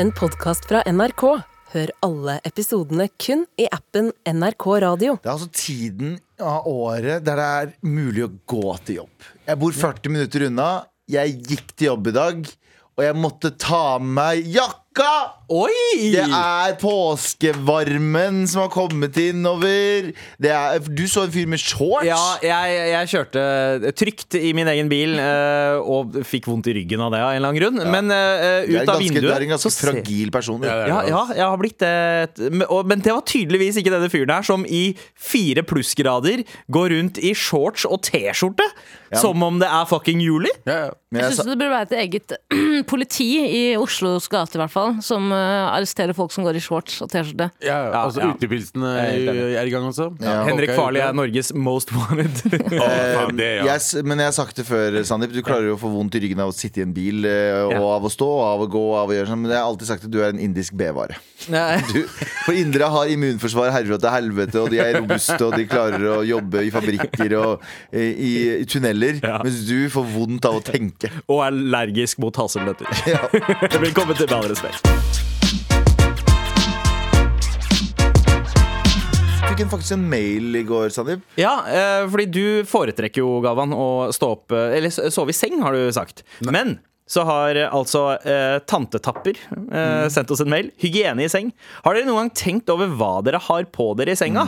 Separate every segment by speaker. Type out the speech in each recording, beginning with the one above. Speaker 1: en podkast fra NRK. Hør alle episodene kun i appen NRK Radio.
Speaker 2: Det er altså tiden av året der det er mulig å gå til jobb. Jeg bor 40 minutter unna. Jeg gikk til jobb i dag, og jeg måtte ta med meg jakka!
Speaker 3: Oi!
Speaker 2: Det er påskevarmen som har kommet innover. Det er, du så en fyr med shorts.
Speaker 3: Ja, jeg, jeg kjørte trygt i min egen bil eh, og fikk vondt i ryggen av det av en eller annen grunn. Men
Speaker 2: Du er
Speaker 3: eh,
Speaker 2: en
Speaker 3: ut av
Speaker 2: ganske, du er en
Speaker 3: vinduet
Speaker 2: ganske
Speaker 3: så ser-
Speaker 2: fragil altså. person.
Speaker 4: Ja, det er
Speaker 3: ja, ja, jeg har blitt det. Men- og- Men det var tydeligvis ikke denne fyren her som i fire plussgrader går rundt i shorts og T-skjorte som om det er fucking juli.
Speaker 4: Ja, ja.
Speaker 2: Men
Speaker 5: Jeg
Speaker 2: jeg
Speaker 5: syns det burde være et eget politi i Oslos gater, i hvert fall. Som eh, arresterer folk som går i shorts og T-skjorte.
Speaker 4: ja, ja.
Speaker 3: Ja,
Speaker 4: Altså,
Speaker 3: ja.
Speaker 4: utepilsen
Speaker 3: Jeg er helt
Speaker 4: er
Speaker 3: enig.
Speaker 4: er i gang også.
Speaker 2: Ja.
Speaker 3: Henrik
Speaker 4: Ok,
Speaker 3: Farley
Speaker 4: ja.
Speaker 3: er Norges most wanted.
Speaker 4: Å,
Speaker 2: Eh,
Speaker 4: faen, det, ja.
Speaker 2: jeg, s- men jeg har sagt det før, Sandeep. Du klarer jo å få vondt i ryggen av å sitte i en bil, eh, og
Speaker 3: Ja.
Speaker 2: av å stå, og av å gå, og av å gjøre sånn. Men jeg har alltid sagt at du er en indisk B-vare.
Speaker 3: Nei.
Speaker 2: Du- For indere har immunforsvar herfra til helvete, og de er robuste, og de klarer å jobbe i fabrikker og eh, i, i tunneler. Mens du får vondt av å tenke.
Speaker 3: og er allergisk mot hasselnøtter.
Speaker 2: Ja.
Speaker 3: Velkommen til Med all respekt.
Speaker 2: Jeg fikk en- faktisk en mail i går, Sandeep.
Speaker 3: Ja, eh, fordi du foretrekker jo, Gavan, å stå opp eh, Eller s- sove i seng, har du sagt. Men så har eh, altså eh, tantetapper eh, sendt oss en mail. Hygiene i seng. Har dere noen gang tenkt over hva dere har på dere i senga?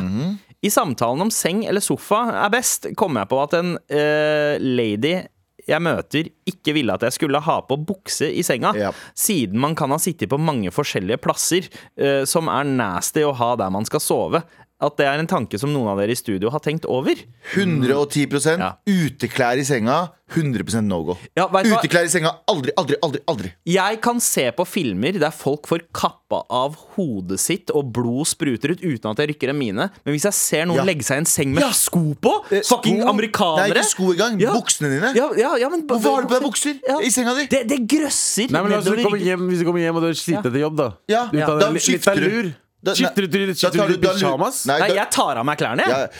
Speaker 3: I samtalen om seng eller sofa er best, kom jeg på at en eh, lady jeg møter, ikke ville at jeg skulle ha på bukse i senga,
Speaker 2: Ja.
Speaker 3: siden man kan ha sittet på mange forskjellige plasser, eh, som er nasty å ha der man skal sove. At det er en tanke som noen av dere i studio har tenkt over.
Speaker 2: 110
Speaker 3: Ja.
Speaker 2: uteklær i senga. 100 no go.
Speaker 3: Ja, vet du hva?
Speaker 2: Uteklær i senga aldri, aldri, aldri. aldri
Speaker 3: Jeg kan se på filmer der folk får kappa av hodet sitt og blod spruter ut uten at jeg rykker en mine, men hvis jeg ser noen
Speaker 2: Ja.
Speaker 3: legge seg i en seng med
Speaker 2: Ja.
Speaker 3: sko på,
Speaker 2: Eh,
Speaker 3: fucking
Speaker 2: sko?
Speaker 3: amerikanere
Speaker 2: Nei, ikke sko engang.
Speaker 3: Ja.
Speaker 2: Buksene dine.
Speaker 3: Ja, ja, ja, men
Speaker 2: Hvorfor har du på deg bukser
Speaker 3: Ja.
Speaker 2: i senga di?
Speaker 3: Det, det grøsser
Speaker 4: Nei, men altså,
Speaker 3: nedover
Speaker 4: du kommer
Speaker 3: ryggen.
Speaker 4: hjem, Hvis du kommer hjem og du er sliten etter jobb, da.
Speaker 2: Ja.
Speaker 4: Du
Speaker 2: Ja.
Speaker 4: tar
Speaker 2: Da
Speaker 4: deg litt- litt
Speaker 2: skifter
Speaker 4: av
Speaker 2: du.
Speaker 4: lur.
Speaker 2: Da- nei.
Speaker 4: Skifter du
Speaker 2: Da tar
Speaker 4: til
Speaker 2: du- da lu-
Speaker 4: pysjamas?
Speaker 2: Nei,
Speaker 3: Nei,
Speaker 2: da-
Speaker 3: jeg tar av meg klærne.
Speaker 2: Ja.
Speaker 3: jeg.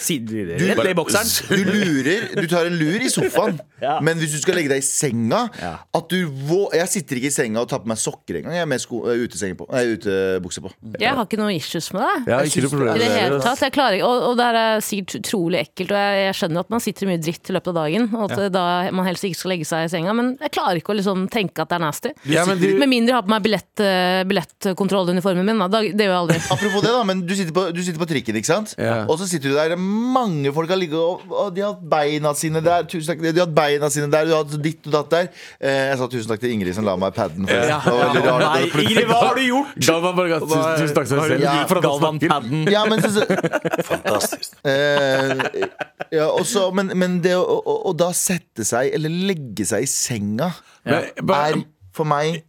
Speaker 2: Du-
Speaker 3: Sider, rett ned i bokseren.
Speaker 2: Du lurer, du tar en lur i sofaen,
Speaker 3: Ja.
Speaker 2: men hvis du skal legge deg i senga
Speaker 3: Ja.
Speaker 2: at du vå Jeg sitter ikke i senga og tar på meg sokker engang. Jeg har med sko, eh, utesenge på. Nei, utebukse på.
Speaker 5: Jeg har ikke noe issues med det.
Speaker 4: Ja,
Speaker 2: Jeg
Speaker 4: ikke
Speaker 2: syns-
Speaker 4: noe problem.
Speaker 5: I det
Speaker 4: med
Speaker 5: hele
Speaker 4: det, ass.
Speaker 5: tatt, jeg klarer ikke Og, og det her er sikkert utrolig ekkelt, og jeg, jeg skjønner at man sitter i mye dritt i løpet av dagen, og at da man helst ikke skal legge seg i senga, men jeg klarer ikke å liksom tenke at det er nasty.
Speaker 4: Ja, men du-
Speaker 5: Med mindre jeg har på meg billett, eh, billettkontrolluniformen min, da. Da- det gjør jeg aldri.
Speaker 2: Apropos det, da, men du sitter på, du sitter på trikken, ikke sant?
Speaker 4: Ja.
Speaker 2: Og så sitter du der, det er mange folk har ligget og, og de har hatt beina sine der. Tusen takk, de har hatt beina sine der, du har hatt ditt og datt der. Eh, jeg sa tusen takk til Ingrid som la meg paden. forresten.
Speaker 3: Ja.
Speaker 2: Det var veldig rart.
Speaker 3: Nei,
Speaker 2: at det plutselig-
Speaker 3: Ingrid, hva har du gjort?
Speaker 4: Galvan bare ga tusen tusen takk til deg selv.
Speaker 2: Ja.
Speaker 4: for at han
Speaker 3: Galvan
Speaker 4: snakker.
Speaker 3: Padden.
Speaker 2: Ja, men så, Eh, ja, og så- men, men det å, å, å da sette seg, eller legge seg i senga,
Speaker 4: Men-
Speaker 2: er
Speaker 4: bare-
Speaker 2: for meg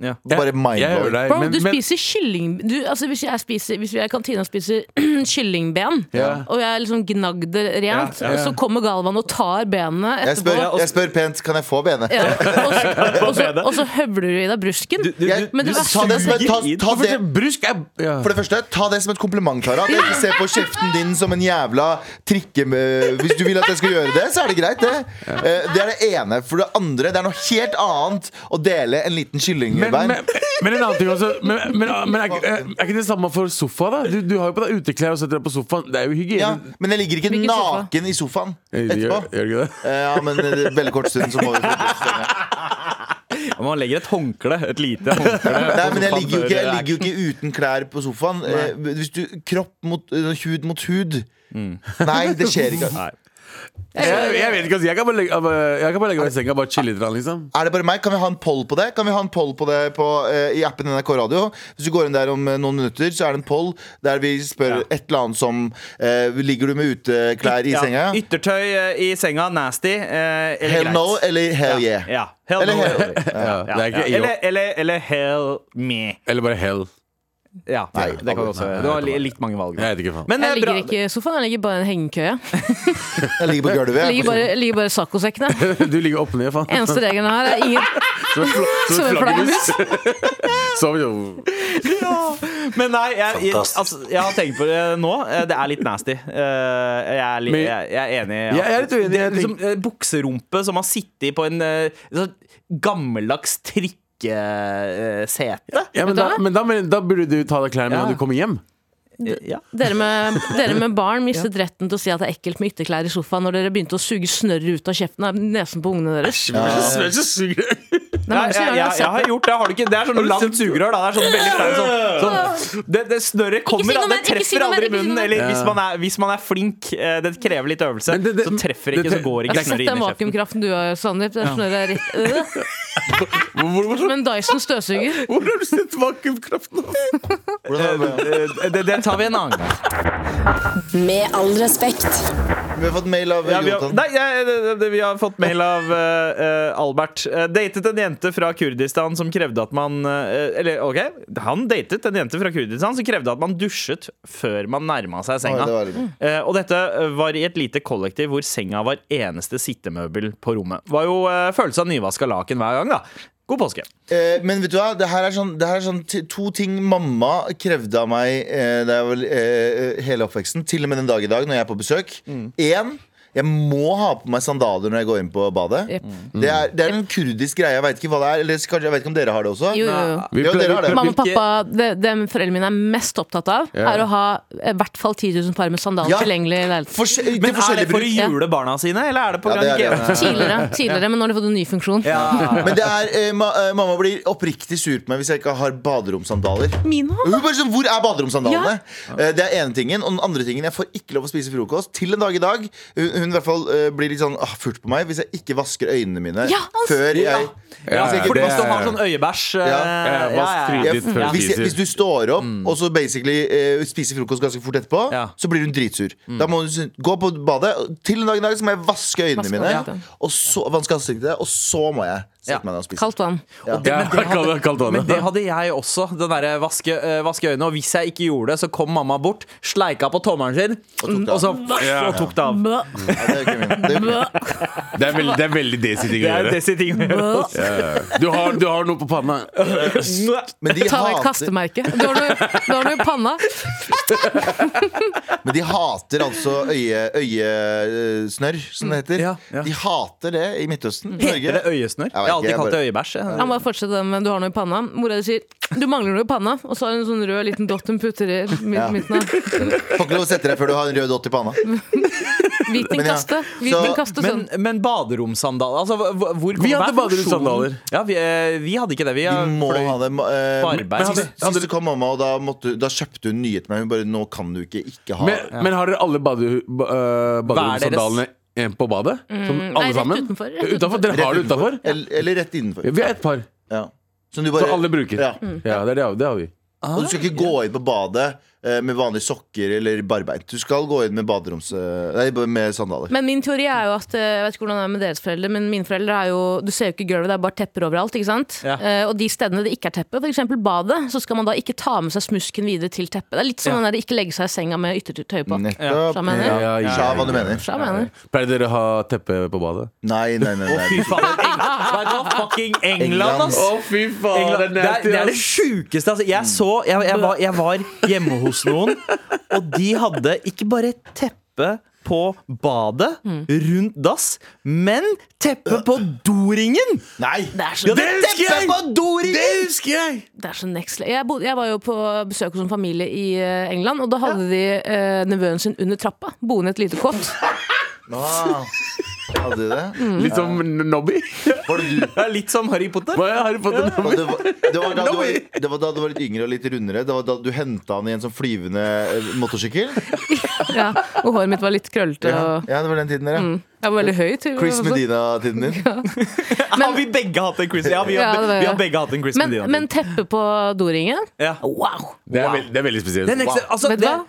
Speaker 3: Ja.
Speaker 2: bare
Speaker 4: Jeg hører
Speaker 2: mindblowing.
Speaker 4: deg,
Speaker 5: Bro,
Speaker 4: Eh, men-
Speaker 5: du
Speaker 4: men-
Speaker 5: spiser kylling du, altså hvis, jeg spiser, hvis vi er i kantina og spiser kyllingben,
Speaker 4: Ja.
Speaker 5: og jeg liksom gnagd det rent,
Speaker 4: Ja, ja.
Speaker 5: og så kommer Galvan og tar benene
Speaker 2: Jeg
Speaker 5: etterpå.
Speaker 2: spør, jeg spør pent, kan jeg få benet?
Speaker 5: Ja, og, så- og, så, og så høvler du i deg brusken.
Speaker 2: Jeg-
Speaker 5: men det
Speaker 2: ta,
Speaker 5: verste-
Speaker 2: det som et, ta, ta
Speaker 4: Hvorfor
Speaker 2: det
Speaker 4: det- Brusk er ja.
Speaker 2: For det første, ta det som et kompliment, Klara. At jeg ikke ser på kjeften din som en jævla trikke... Hvis du vil at jeg skal gjøre det, så er det greit, det. Eh, Det er det ene. For det andre, det er noe helt annet å dele en liten
Speaker 4: men, men,
Speaker 2: kyllingbein.
Speaker 4: men en annen ting også Men, men, men er, er ikke det samme for sofa, da? Du, du har jo på deg uteklær og setter deg på sofaen. Det er jo hygiene.
Speaker 2: Ja, men jeg ligger ikke
Speaker 5: Hvilken sofa?
Speaker 2: naken i sofaen etterpå.
Speaker 4: Gjør, gjør ikke det?
Speaker 2: Eh, Ja, men eh, veldig kort stund så må vi flytte oss.
Speaker 3: Ja, Man legger et håndkle, et lite håndkle.
Speaker 2: Nei, men jeg
Speaker 3: sofaen
Speaker 2: ligger, jo ikke, jeg
Speaker 3: før
Speaker 2: ligger jo ikke uten klær på sofaen. Eh, Hvis du Kropp mot eh, hud mot hud.
Speaker 3: Mm.
Speaker 2: Nei, det skjer ikke.
Speaker 3: Nei.
Speaker 4: Jeg, jeg vet ikke, altså. Jeg kan bare legge, jeg bare- jeg kan bare legge meg i senga og bare chille litt, grann, liksom.
Speaker 2: Er det bare meg? Kan vi ha en poll på det? Kan vi ha en poll på det på, eh, I appen NRK Radio? Hvis du går inn der om eh, noen minutter, så er det en poll der vi spør et eller annet som eh, Ligger du med uteklær i
Speaker 3: Ja,
Speaker 2: senga?
Speaker 3: Yttertøy eh, i senga, nasty. eh, Eller
Speaker 2: Hell
Speaker 3: greit.
Speaker 2: no eller hell yeah?
Speaker 3: Ja. Hell
Speaker 2: Eller
Speaker 3: no.
Speaker 2: hell-
Speaker 3: eller-
Speaker 4: Ja, det er
Speaker 3: Ja.
Speaker 4: ikke
Speaker 3: Eller, eller, eller hell me.
Speaker 4: Eller bare hell.
Speaker 3: Ja,
Speaker 2: Nei,
Speaker 3: det kan
Speaker 2: aldri.
Speaker 3: også Det var li- litt mange valg.
Speaker 4: Jeg vet ikke, faen.
Speaker 3: Men
Speaker 5: Jeg
Speaker 3: eh, bra.
Speaker 5: ligger ikke i sofaen, jeg ligger bare i en hengekøye.
Speaker 2: Jeg ligger på gulvet.
Speaker 5: Jeg
Speaker 2: jeg,
Speaker 5: ligger
Speaker 2: på
Speaker 5: bare, jeg ligger bare i saccosekkene.
Speaker 4: Du ligger opp ned, faen.
Speaker 5: Eneste regelen her er ingen
Speaker 4: Som en fla- som en flaggermus. Som jo
Speaker 3: Men nei, jeg, jeg, altså, jeg har tenkt på det nå. Eh, Det er litt nasty. Eh, Jeg er, litt,
Speaker 4: Men-
Speaker 3: jeg, jeg er enig.
Speaker 4: Jeg er litt uenig,
Speaker 3: Det er
Speaker 4: jeg
Speaker 3: liksom, eh, bukserumpe som har sittet på en eh, sånn gammeldags trikk. strikkesete.
Speaker 4: Ja, men,
Speaker 5: Vet du
Speaker 4: da,
Speaker 5: hva?
Speaker 4: men da, men da burde du ta av deg klærne
Speaker 3: Ja.
Speaker 4: når du kommer hjem.
Speaker 3: Ja.
Speaker 5: Dere med, dere med barn mistet retten til å si at det er ekkelt med ytterklær i sofaen når dere begynte å suge snørr ut av kjeften av nesen på ungene deres. Det er
Speaker 3: Nei,
Speaker 5: mange som
Speaker 3: jeg,
Speaker 5: gjør
Speaker 3: jeg,
Speaker 5: det, jeg har
Speaker 3: jeg
Speaker 5: sett
Speaker 3: har gjort det. Har du ikke? Det er sånn langt sugerør. Da. Det er sånn veldig flaut. Sånn, sånn, det det snørret
Speaker 5: si
Speaker 3: kommer, da.
Speaker 5: noe
Speaker 3: det
Speaker 5: mer, ikke si
Speaker 3: treffer
Speaker 5: noe mer,
Speaker 3: aldri
Speaker 5: ikke si noe
Speaker 3: munnen.
Speaker 5: mer.
Speaker 3: Eller hvis man er, hvis man er flink, eh, det krever litt øvelse,
Speaker 4: Men det- det-
Speaker 3: så treffer
Speaker 4: det-
Speaker 3: ikke, så går
Speaker 5: Jeg
Speaker 3: ikke
Speaker 5: har sett
Speaker 3: snørret inn
Speaker 5: den
Speaker 3: i kjeften.
Speaker 5: vakuumkraften du har, Sandeep. Det snørret er rett øh,
Speaker 4: Hvor
Speaker 5: som en Dyson støvsuger.
Speaker 4: hvor har du sett vakuumkraften?
Speaker 2: Hvordan har vi-
Speaker 3: Eh, Det, det tar vi en annen gang.
Speaker 6: Med all respekt.
Speaker 2: Vi har fått mail av
Speaker 3: Ja, vi, har,
Speaker 2: Jonathan.
Speaker 3: nei, eh, det, det, vi har fått mail av eh, eh, Albert. Eh, datet en jente fra Kurdistan som krevde at man eh, Eller OK, han datet en jente fra Kurdistan som krevde at man dusjet før man nærma seg
Speaker 2: Oi,
Speaker 3: senga.
Speaker 2: det var litt-
Speaker 3: Eh, og dette eh, var i et lite kollektiv hvor senga var eneste sittemøbel på rommet. Var jo eh, følelse av nyvaska laken hver gang, da. God påske.
Speaker 2: Eh, men vet du hva, det her er sånn, det her er sånn t to ting mamma krevde av meg eh, da jeg var, eh, hele oppveksten. Til og med den dag i dag, når jeg er på besøk. Én, jeg må ha på meg sandaler når jeg går inn på badet.
Speaker 5: Jep.
Speaker 2: Det, er, det er en kurdisk greie. Jeg vet ikke hva det er. Eller kanskje, jeg vet ikke om dere har det også?
Speaker 5: Jo, jo, jo.
Speaker 4: Vi
Speaker 2: Ja, dere har det.
Speaker 5: Mamma og pappa, det, det foreldrene mine er mest opptatt av,
Speaker 4: Ja.
Speaker 5: er å ha i hvert fall 10 000 par med sandaler
Speaker 2: Ja.
Speaker 5: tilgjengelig i leiligheten.
Speaker 2: Fors- til
Speaker 3: Men er det
Speaker 2: forskjellig
Speaker 3: for å
Speaker 2: bruk.
Speaker 3: jule barna sine, eller er det på
Speaker 2: Ja,
Speaker 3: grunn
Speaker 2: det
Speaker 3: av
Speaker 2: er det.
Speaker 3: hygiene?
Speaker 5: Tidligere, tidligere men nå har de fått en ny funksjon.
Speaker 2: Men det er, eh, ma eh, mamma blir oppriktig sur på meg hvis jeg ikke har baderomsandaler.
Speaker 5: Mine har
Speaker 2: Hun bare sånn, Hvor er baderomsandalene? Eh, Det er ene tingen. Og den andre tingen, jeg får ikke lov å spise frokost. Til en dag i dag. Hun, hun i hvert fall eh, blir litt sånn ah, furt på meg hvis jeg ikke vasker øynene mine
Speaker 5: Ja, altså,
Speaker 2: før jeg
Speaker 3: Ja,
Speaker 4: Ja,
Speaker 3: fordi
Speaker 4: det
Speaker 3: hvis du
Speaker 4: er-
Speaker 3: har sånn øyebæsj eh,
Speaker 2: Ja.
Speaker 4: Ja, vask
Speaker 2: jeg,
Speaker 4: Litt før Mm.
Speaker 2: hvis, jeg,
Speaker 4: spiser.
Speaker 2: hvis du står opp og så basically eh, spiser frokost ganske fort etterpå,
Speaker 3: Ja.
Speaker 2: så blir hun dritsur.
Speaker 4: Mm.
Speaker 2: Da må hun si- gå på badet. Til en dag i dag så må jeg vaske øynene
Speaker 5: Vaske
Speaker 2: mine,
Speaker 5: øynene.
Speaker 2: og så vanske ansiktet, og så må jeg sette
Speaker 3: Ja.
Speaker 2: meg ned og spise.
Speaker 5: kaldt vann.
Speaker 3: Og det-
Speaker 4: Ja,
Speaker 3: men det hadde-
Speaker 4: kall det- kall det vann,
Speaker 3: Men
Speaker 4: ja.
Speaker 3: det hadde jeg også. Den derre vaske, eh, vaske øynene. Og hvis jeg ikke gjorde det, så kom mamma bort, sleika på tommelen sin,
Speaker 2: tok det
Speaker 3: og så
Speaker 2: av.
Speaker 4: Ja.
Speaker 3: og tok det av.
Speaker 2: Ja, det er jo ikke min- det er jo ikke min.
Speaker 4: Det er veldig, det er veldig desi ting å
Speaker 3: Det er
Speaker 4: gjøre.
Speaker 3: disse tingene.
Speaker 4: Du har, du har noe på panna.
Speaker 2: Men de
Speaker 5: Ta vekk
Speaker 2: hater
Speaker 5: kastemerket. Du har noe, du har noe i panna.
Speaker 2: Men de hater altså øye- øyesnørr, som det heter.
Speaker 3: Ja, ja.
Speaker 2: De hater det i Midtøsten. Norge.
Speaker 3: Heter det øyesnør? Jeg har
Speaker 2: ikke,
Speaker 3: alltid
Speaker 2: jeg
Speaker 3: kalt det
Speaker 2: bare-
Speaker 3: øyebæsj. jeg.
Speaker 5: Han bare fortsetter den med 'du har noe i panna'. Mora di sier 'du mangler noe i panna', og så har hun en sånn rød liten dott hun putter i mid-
Speaker 2: Ja.
Speaker 5: midten av.
Speaker 2: Får ikke lov å sette deg før du har en rød dott i panna.
Speaker 5: Vit din
Speaker 2: Men ja,
Speaker 5: kaste. Vit
Speaker 2: så-
Speaker 5: din kaste
Speaker 3: Men,
Speaker 2: sånn-
Speaker 5: sønn.
Speaker 3: men baderomsandaler altså, hv- hv- hvor
Speaker 4: Vi
Speaker 3: hva er funksjonen?
Speaker 4: hadde baderomsandaler.
Speaker 3: Ja, vi, eh, vi hadde ikke det. Vi
Speaker 2: De
Speaker 3: eh,
Speaker 2: må
Speaker 3: fløy
Speaker 2: ha det. eh,
Speaker 3: på arbeid.
Speaker 4: Men hadde-
Speaker 2: Sist, sist det kom mamma, og da, måtte, da kjøpte hun nye til meg. Hun bare 'Nå kan du ikke ikke ha
Speaker 4: Men, men har dere alle bade, ba, øh,
Speaker 3: Hver
Speaker 4: baderomssandalene en på badet? Som
Speaker 5: Mm. nei,
Speaker 4: alle
Speaker 5: rett
Speaker 4: sammen?
Speaker 5: utenfor, rett
Speaker 4: Utenfor. Dere har det utafor?
Speaker 2: Eller, eller rett innenfor.
Speaker 4: Vi er et par,
Speaker 2: Ja. Som du
Speaker 4: så alle bruker.
Speaker 2: Ja.
Speaker 4: Ja,
Speaker 5: Mm.
Speaker 4: det, er det, det har vi.
Speaker 2: Og du skal ikke gå inn på badet eh, med vanlige sokker eller barbeint. Du skal gå inn med baderoms... eh, Nei, med sandaler.
Speaker 5: Men min teori er jo at eh, Jeg vet ikke hvordan det er med deres foreldre, men mine foreldre er jo Du ser jo ikke gulvet, det er bare tepper overalt, ikke sant?
Speaker 3: Ja.
Speaker 5: Eh, og de stedene det ikke er teppe, f.eks. badet, så skal man da ikke ta med seg smusken videre til teppet. Det er litt som
Speaker 3: Ja.
Speaker 5: den der ikke legge seg i senga med yttertøy på.
Speaker 2: Nettopp.
Speaker 5: Sa mener.
Speaker 2: Ja, ja, Sa hva du mener.
Speaker 5: Så jeg mener.
Speaker 4: Pleier dere å ha teppe på badet?
Speaker 2: Nei, nei, nei.
Speaker 3: Å, fy
Speaker 2: nei.
Speaker 3: faen. Eng Vet du hva? Fucking England, ass!
Speaker 4: fy
Speaker 3: England. Det, er, det er det sjukeste. Altså, jeg så jeg, jeg, var, jeg var hjemme hos noen, og de hadde ikke bare teppe på badet rundt dass, men teppe på doringen!
Speaker 2: nei.
Speaker 5: Det er så
Speaker 3: De hadde teppe på doringen!
Speaker 4: husker jeg!
Speaker 5: Det er så next level. Jeg, bodde, jeg var jo på besøk hos en familie i eh, England, og da hadde de eh, nevøen sin under trappa, boende i et lite kott.
Speaker 2: Ah, hadde du det?
Speaker 4: Litt som Nobby.
Speaker 2: Var det du?
Speaker 3: Det er litt som Harry Potter.
Speaker 4: Hva har du fått en
Speaker 2: Og
Speaker 4: Nobby?
Speaker 2: det, var, det, var da du var, det var da du var litt yngre og litt rundere. Det var da du henta han i en sånn flyvende eh, motorsykkel.
Speaker 5: Ja, og håret mitt var litt krøllete.
Speaker 2: Ja,
Speaker 5: Og
Speaker 2: ja, det var den tiden der, ja.
Speaker 5: jeg var veldig høy. Til,
Speaker 2: Chris Medina-tiden din.
Speaker 3: har vi begge hatt en Chris? Ja, vi har,
Speaker 5: Ja, det var-
Speaker 3: vi har begge hatt en Chris
Speaker 5: men,
Speaker 3: Medina.
Speaker 5: men teppe på doringen?
Speaker 3: ja.
Speaker 5: Wow!
Speaker 4: Det er, veld, det er veldig spesielt.
Speaker 3: Det er next- altså,
Speaker 5: Vet du
Speaker 3: det,
Speaker 5: hva?
Speaker 3: det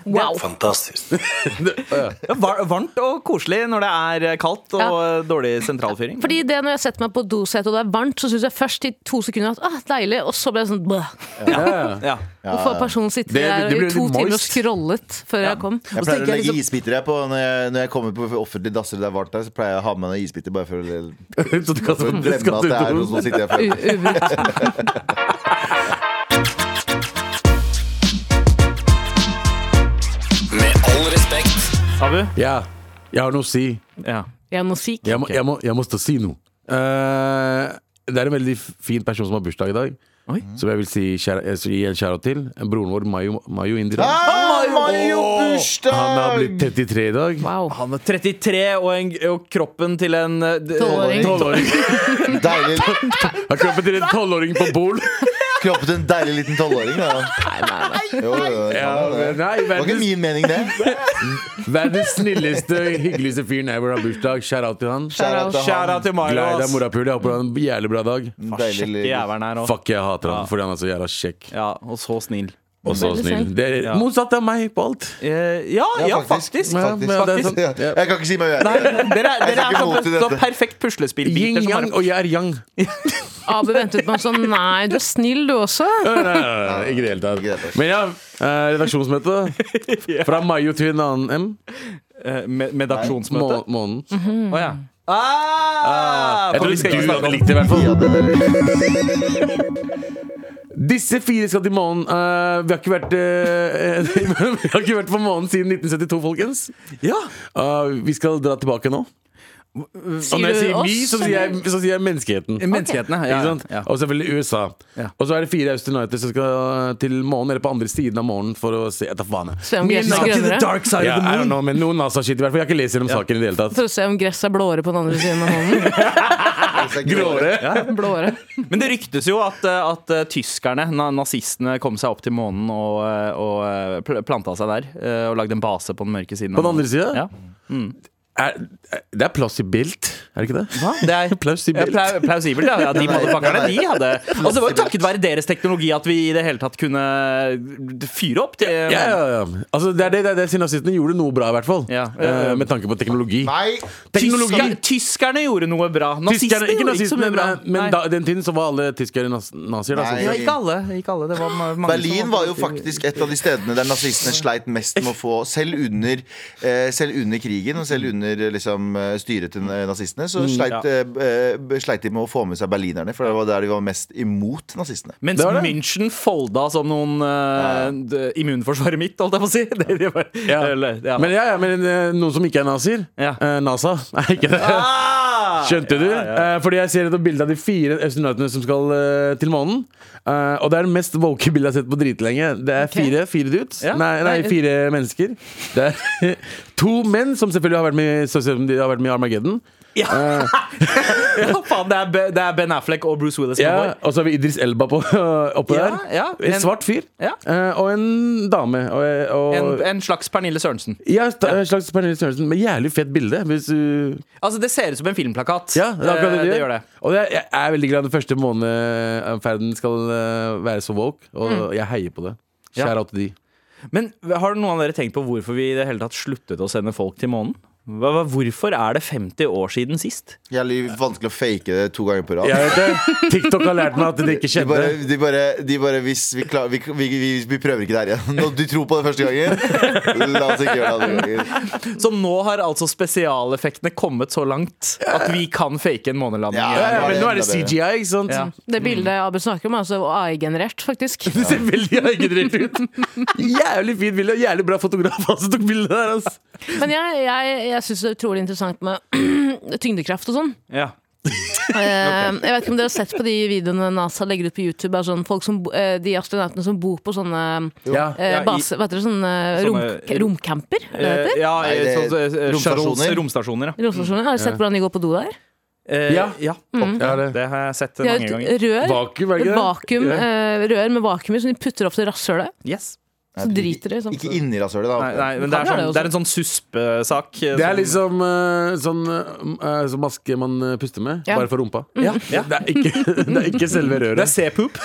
Speaker 5: Wow.
Speaker 3: er var- varmt og koselig når det er kaldt og
Speaker 5: Ja.
Speaker 3: eh, dårlig sentralfyring.
Speaker 5: Fordi det når jeg setter meg på dosetet og det er varmt, så syns jeg først i to sekunder at ah, deilig, og så ble det sånn bæh.
Speaker 4: Ja.
Speaker 3: Ja.
Speaker 5: Hvorfor har personen sittet
Speaker 4: Det- det
Speaker 5: der
Speaker 4: blir
Speaker 5: i to
Speaker 4: litt
Speaker 5: timer og
Speaker 4: moist.
Speaker 5: scrollet før jeg kom?
Speaker 2: Jeg
Speaker 3: så
Speaker 2: pleier
Speaker 3: tenker
Speaker 2: å
Speaker 3: jeg
Speaker 2: legge
Speaker 3: liksom-
Speaker 2: isbiter jeg på når jeg, når jeg kommer på offentlige dasser det er varmt der. Så pleier jeg å ha med meg isbiter bare for å
Speaker 4: Så sånn- du kan
Speaker 2: for å glemme at det er noen som sitter her.
Speaker 5: U-
Speaker 2: for-
Speaker 5: Ubrukt.
Speaker 7: Med all respekt.
Speaker 3: Abu?
Speaker 4: Ja, jeg har noe å si.
Speaker 3: Ja.
Speaker 5: Jeg er musik.
Speaker 4: Jeg må, jeg må, jeg må stå og si noe. Eh, det er en veldig fin person som har bursdag i dag.
Speaker 3: Oi.
Speaker 4: Som jeg vil si kjære, eh, gi en shout-out til. Broren vår, Mayo, Mayo Indira.
Speaker 2: Ah, Mayo
Speaker 4: Åh,
Speaker 2: bursdag!
Speaker 4: Han har blitt 33 i dag.
Speaker 5: Wow.
Speaker 3: Han er 33 og, en, og kroppen til en eh, d-
Speaker 5: Tolvåring.
Speaker 3: tolvåring.
Speaker 2: Deilig,
Speaker 4: Han har kroppen til en tolvåring på Bol.
Speaker 2: kroppen til en deilig liten tolvåring. da. Jo, jo, jo,
Speaker 4: Ja,
Speaker 2: det
Speaker 4: nei,
Speaker 2: var ikke
Speaker 4: verdens,
Speaker 2: min mening, det.
Speaker 4: verdens snilleste, hyggeligste fyren ever har bursdag. Shout-out til han.
Speaker 2: Shout-out til han.
Speaker 3: Kjære til Mayo.
Speaker 4: Glad i deg,
Speaker 3: ass.
Speaker 4: morapule. Jeg Håper du har en jævlig bra dag.
Speaker 2: Deilig
Speaker 3: Sjekke
Speaker 2: lille-
Speaker 3: Ah, jævelen her også.
Speaker 4: Fuck, jeg hater han fordi han er så jævla kjekk.
Speaker 3: Ja, og så snill.
Speaker 4: Og så
Speaker 5: Veldig
Speaker 4: snill.
Speaker 5: snill.
Speaker 4: Det er
Speaker 3: Ja.
Speaker 4: motsatt av meg på alt.
Speaker 3: Eh, ja,
Speaker 2: Ja,
Speaker 3: ja,
Speaker 2: faktisk.
Speaker 3: faktisk.
Speaker 4: Ja, men det er sant.
Speaker 2: Ja, Jeg kan ikke si meg
Speaker 3: Nei,
Speaker 2: uenig.
Speaker 3: dere er,
Speaker 2: Jeg
Speaker 3: dere
Speaker 2: er
Speaker 3: er
Speaker 2: ikke imot i
Speaker 3: så, så
Speaker 2: dette.
Speaker 3: perfekt puslespillbiter. som
Speaker 4: Yin-yang,
Speaker 3: bare-
Speaker 4: og jeg er yang.
Speaker 5: Abu ventet på en sånn Nei, du er snill du også.
Speaker 4: Nei, nei, nei, nei, Ikke i det hele
Speaker 2: Ikke i det hele
Speaker 4: tatt.
Speaker 2: tatt.
Speaker 4: Men ja, eh, redaksjonsmøte. Fra Mayo til en annen M.
Speaker 3: Eh, med- Medaksjonsmøte.
Speaker 4: Må- Månen.
Speaker 3: Å ja. Ah,
Speaker 4: Jeg
Speaker 3: for
Speaker 4: tror
Speaker 3: vi skal ikke
Speaker 4: du
Speaker 3: snakke
Speaker 4: hadde
Speaker 3: om
Speaker 4: likt det, i hvert fall.
Speaker 2: Ja, det der.
Speaker 4: Disse fire skal til månen. Eh, vi, har ikke vært, eh, vi har ikke vært på månen siden 1972, folkens.
Speaker 3: ja.
Speaker 4: Eh, vi skal dra tilbake nå. Og når jeg sier vi, så sier jeg, så sier jeg menneskeheten.
Speaker 3: Menneskeheten, ja,
Speaker 4: Ikke
Speaker 3: ja.
Speaker 4: sant?
Speaker 3: ja.
Speaker 4: Og selvfølgelig USA.
Speaker 3: Ja.
Speaker 4: Og så er det fire astronauter som skal til månen, eller på andre siden av månen, for å se etter faen. jeg.
Speaker 5: Se om gresset er grønnere.
Speaker 3: dark side
Speaker 4: Ja, I don't know, men noen NASA-shit i hvert fall. Jeg har ikke lest gjennom saken i det hele tatt.
Speaker 5: For å se om gresset er blåere på den andre siden av hånden.
Speaker 4: Gråere.
Speaker 5: Blåere.
Speaker 3: Men det ryktes jo at, eh, at eh, tyskerne, na nazistene, kom seg opp til månen og, eh, og eh, pl- planta seg der. eh, Og lagde en base på den mørke siden.
Speaker 4: På den
Speaker 3: av
Speaker 4: andre siden?
Speaker 3: Ja.
Speaker 4: Er, er- det er plausibelt, er det ikke det?
Speaker 3: Hva? Det er
Speaker 4: Plausibelt.
Speaker 3: Ja, plau- plausibelt, ja. ja de
Speaker 2: Nei,
Speaker 3: motherfuckerne,
Speaker 2: nei.
Speaker 3: de hadde Altså, det var jo takket være deres teknologi at vi i det hele tatt kunne eh, fyre opp til
Speaker 4: Ja, ja, ja. Altså, det er det, det, er det siden nazistene gjorde noe bra, i hvert fall.
Speaker 3: Ja, ja, ja.
Speaker 4: Eh, med tanke på teknologi.
Speaker 2: Nei,
Speaker 4: Teknologi.
Speaker 3: Tyskerne, tyskerne gjorde noe bra. Nazistene
Speaker 4: Tyskerne, ikke
Speaker 3: gjorde ikke så
Speaker 4: nazistene,
Speaker 3: mye bra.
Speaker 4: men, men
Speaker 3: Nei.
Speaker 4: da, den tiden så var alle tyskere nas nazier. Da,
Speaker 2: Nei.
Speaker 4: så-
Speaker 3: ja, ikke alle. Ikke alle. Det var ma- mange
Speaker 2: Berlin
Speaker 4: sånn
Speaker 3: som
Speaker 2: var jo faktisk et av de stedene der nazistene sleit mest med å få Selv under, eh, selv under krigen og selv under eh, liksom, eh, styret til eh, nazistene, så
Speaker 4: Mm,
Speaker 2: sleit,
Speaker 3: ja.
Speaker 2: eh, b- eh, b- sleit de med å få med seg berlinerne, for det var der de var mest imot nazistene.
Speaker 3: Mens
Speaker 4: Det var det.
Speaker 3: München folda som noen eh, d- immunforsvaret mitt, holdt jeg på å si. Det, det var,
Speaker 4: Ja.
Speaker 3: eller, ja.
Speaker 4: Men, ja, ja, men eh, noen som ikke er nazier?
Speaker 3: Ja.
Speaker 4: Eh, NASA, er ikke det?
Speaker 3: ah!
Speaker 4: Skjønte du?
Speaker 3: Ja, ja.
Speaker 4: Eh, fordi jeg ser et bilde av de fire astronautene som skal eh, til månen. Eh, og det er det mest woke bildet jeg har sett på dritlenge. Det er fire fire dudes.
Speaker 3: Ja.
Speaker 4: Nei, nei,
Speaker 3: Nei.
Speaker 4: fire mennesker. Det er to menn som selvfølgelig har vært med, i- så som de har vært med i Armageddon.
Speaker 3: Ja. ja, faen, det er, Be- det er Ben Affleck og Bruce Willis. som
Speaker 4: Ja,
Speaker 3: går.
Speaker 4: og så har vi Idris Elba på, oppe
Speaker 3: Ja,
Speaker 4: der.
Speaker 3: ja.
Speaker 4: en svart fyr.
Speaker 3: Ja.
Speaker 4: Eh, og en dame. Og, og,
Speaker 3: En, en slags Pernille Sørensen.
Speaker 4: ja, et slags Pernille Sørensen med jævlig fett bilde. Hvis du
Speaker 3: Altså, det ser ut som en filmplakat.
Speaker 4: Ja, det er akkurat det
Speaker 3: Eh,
Speaker 4: de
Speaker 3: gjør det.
Speaker 4: Og det er, jeg er veldig glad den første månedferden skal eh, være så woke, og jeg heier på det.
Speaker 3: Ja.
Speaker 4: Kjære til de.
Speaker 3: Men har noen av dere tenkt på hvorfor vi i det hele tatt sluttet å sende folk til månen? Hva, hva- hvorfor er det 50 år siden sist?
Speaker 2: Jævlig vanskelig å fake det to ganger på rad.
Speaker 4: Jeg vet det. TikTok har lært meg at det ikke
Speaker 2: De
Speaker 4: skjedde.
Speaker 2: bare, de bare, de bare hvis vi, klar, vi, vi, vi, vi prøver ikke der igjen. Når du tror på det første gangen, la oss ikke gjøre det andre gangen.
Speaker 3: Så nå har altså spesialeffektene kommet så langt at vi kan fake en månelanding.
Speaker 2: Ja,
Speaker 4: Ja,
Speaker 3: igjen.
Speaker 4: ja, men nå er det
Speaker 2: Enda bedre.
Speaker 4: CGI, ikke sant?
Speaker 3: Ja.
Speaker 5: Det bildet Abu snakker om, er altså AI-generert, faktisk.
Speaker 4: Det ser veldig egenrett ut. Jævlig fint bilde, og jævlig bra fotograf han som tok bildet der. ass.
Speaker 5: Men jeg, jeg, jeg syns det er utrolig interessant med tyngdekraft og sånn.
Speaker 3: Ja.
Speaker 5: Eh, Jeg vet ikke om dere har sett på de videoene NASA legger ut på YouTube. Er sånn folk som, bo- eh, de astronautene som bor på sånne
Speaker 4: Ja.
Speaker 5: eh,
Speaker 3: Ja, i-
Speaker 5: base, Hva heter det? Sånne rom,
Speaker 3: Sånne-
Speaker 5: romcamper? Er det det
Speaker 3: Eh,
Speaker 5: heter?
Speaker 3: ja
Speaker 2: Nei, det er
Speaker 3: sånn, eh,
Speaker 2: romstasjoner.
Speaker 3: shuttles- romstasjoner. Eh, ja.
Speaker 5: Romstasjoner? Har dere sett hvordan de går på do der?
Speaker 3: Eh,
Speaker 4: Ja.
Speaker 3: ja.
Speaker 4: Ja, Mm. det.
Speaker 3: Det har jeg sett
Speaker 5: De har
Speaker 3: mange
Speaker 5: et
Speaker 3: ganger.
Speaker 5: rør.
Speaker 4: Vakuum, er det
Speaker 5: Et
Speaker 4: ikke det?
Speaker 5: vakuum,
Speaker 4: Ja.
Speaker 5: eh, rør med vakuum i, som de putter opp til rasshølet.
Speaker 3: Yes.
Speaker 5: Så driter de. Sånn.
Speaker 2: Ikke inni rasshølet,
Speaker 3: Nei,
Speaker 2: da.
Speaker 3: nei, men det er,
Speaker 5: Kan være
Speaker 3: sånn,
Speaker 5: det
Speaker 3: det er en sånn suspesak. eh,
Speaker 4: Det er
Speaker 3: som-
Speaker 4: liksom eh, sånn, eh, sånn maske man eh, puster med,
Speaker 5: Ja.
Speaker 4: bare for rumpa.
Speaker 3: ja, ja.
Speaker 4: Det, er ikke, det er ikke
Speaker 3: Det
Speaker 4: selve
Speaker 3: er
Speaker 4: røret.
Speaker 3: C-poop.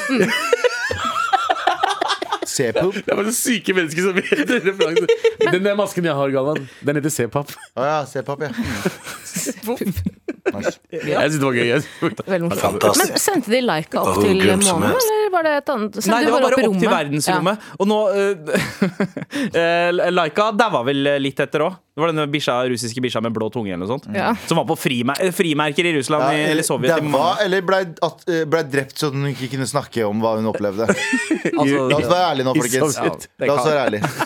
Speaker 2: C-poop.
Speaker 4: Det er bare så syke mennesker som vet referansen. Den der masken jeg har, Galvan, den heter C-pap.
Speaker 2: Å ja, C-pap, ja. Nice.
Speaker 4: Jeg synes det var gøy. Jeg synes det var gøy.
Speaker 5: Veldig morsomt.
Speaker 7: Fantastisk.
Speaker 5: Men Sendte de Laika opp til månen, eller var det et annet? Sendte
Speaker 3: Nei,
Speaker 5: de
Speaker 3: det var
Speaker 5: i
Speaker 3: bare opp til
Speaker 5: rommet?
Speaker 3: verdensrommet. Og nå eh, eh, Laika daua vel eh, litt etter òg. Det var denne bikkja, russiske bikkja med blå tunge eller noe sånt.
Speaker 5: Ja.
Speaker 3: Som var på frime eh, frimerker i Russland i, eller Sovjet. i
Speaker 2: Daua,
Speaker 3: mange-
Speaker 2: eller ble, at, eh, ble drept så hun ikke kunne snakke om hva hun opplevde.
Speaker 3: Altså,
Speaker 2: La oss være ærlige nå,
Speaker 4: I
Speaker 2: folkens.
Speaker 4: Sovjet.
Speaker 2: La oss være ærlige.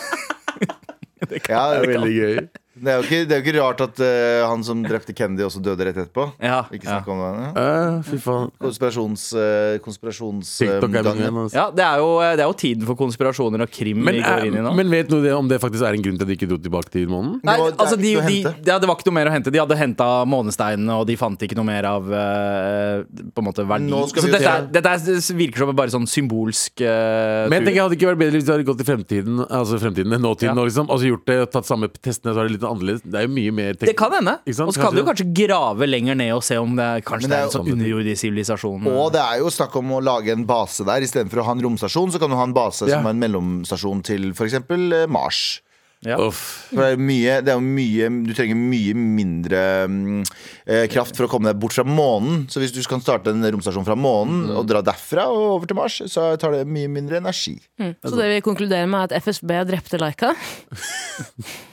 Speaker 2: Ja,
Speaker 4: Det er veldig gøy.
Speaker 2: Det er jo ikke, det er jo ikke rart at eh, han som drepte Kennedy, også døde rett etterpå.
Speaker 3: Ja,
Speaker 2: Ikke
Speaker 3: ja.
Speaker 2: snakk om det. Ja.
Speaker 4: Eh, fy faen.
Speaker 2: Konspirasjons... eh, konspirasjons eh,
Speaker 4: TikTok er
Speaker 2: gang.
Speaker 4: mange, altså.
Speaker 3: Ja, det er, jo, eh, det er jo tiden for konspirasjoner og krim
Speaker 4: men,
Speaker 3: vi går inn i nå.
Speaker 4: eh, men vet du det, om det faktisk er en grunn til at de ikke dro tilbake til månen?
Speaker 3: Nei,
Speaker 2: Det var- det er
Speaker 3: altså de,
Speaker 2: ikke noe å
Speaker 3: de,
Speaker 2: hente.
Speaker 3: ja, det var ikke noe mer å hente. De hadde henta månesteinene, og de fant ikke noe mer av eh, På en måte verdi.
Speaker 2: Nå skal
Speaker 3: Så
Speaker 2: vi jo
Speaker 3: dette,
Speaker 2: se.
Speaker 3: er- dette er- virker som en bare sånn symbolsk eh,
Speaker 4: Men jeg
Speaker 3: tur.
Speaker 4: tenker hadde det ikke vært bedre hvis de hadde gått til fremtiden Altså fremtiden, nåtiden
Speaker 3: Ja.
Speaker 4: nå, liksom. Altså gjort det, tatt samme testene, så er det litt annerledes. Det er jo mye mer
Speaker 3: det kan hende.
Speaker 4: Ikke sant?
Speaker 3: Og så kan
Speaker 4: Kanskje
Speaker 3: du kanskje grave lenger ned og se om det er, kanskje
Speaker 2: Men
Speaker 3: det
Speaker 2: det
Speaker 3: er
Speaker 2: er
Speaker 3: en sånn
Speaker 4: jo-
Speaker 3: underjordisk sivilisasjon.
Speaker 2: Og det er jo snakk om å lage en base der. Istedenfor å ha en romstasjon, så kan du ha en base
Speaker 4: Ja.
Speaker 2: som er en mellomstasjon til f.eks. Mars.
Speaker 3: Ja.
Speaker 4: Uff.
Speaker 2: For det er, jo mye, det er jo mye Du trenger mye mindre mm, eh, kraft for å komme deg bort fra månen. Så hvis du kan starte en romstasjon fra månen
Speaker 3: Mm.
Speaker 2: og dra derfra og over til Mars, så tar det mye mindre energi.
Speaker 5: Så det vi konkluderer med, er at FSB drepte Laika.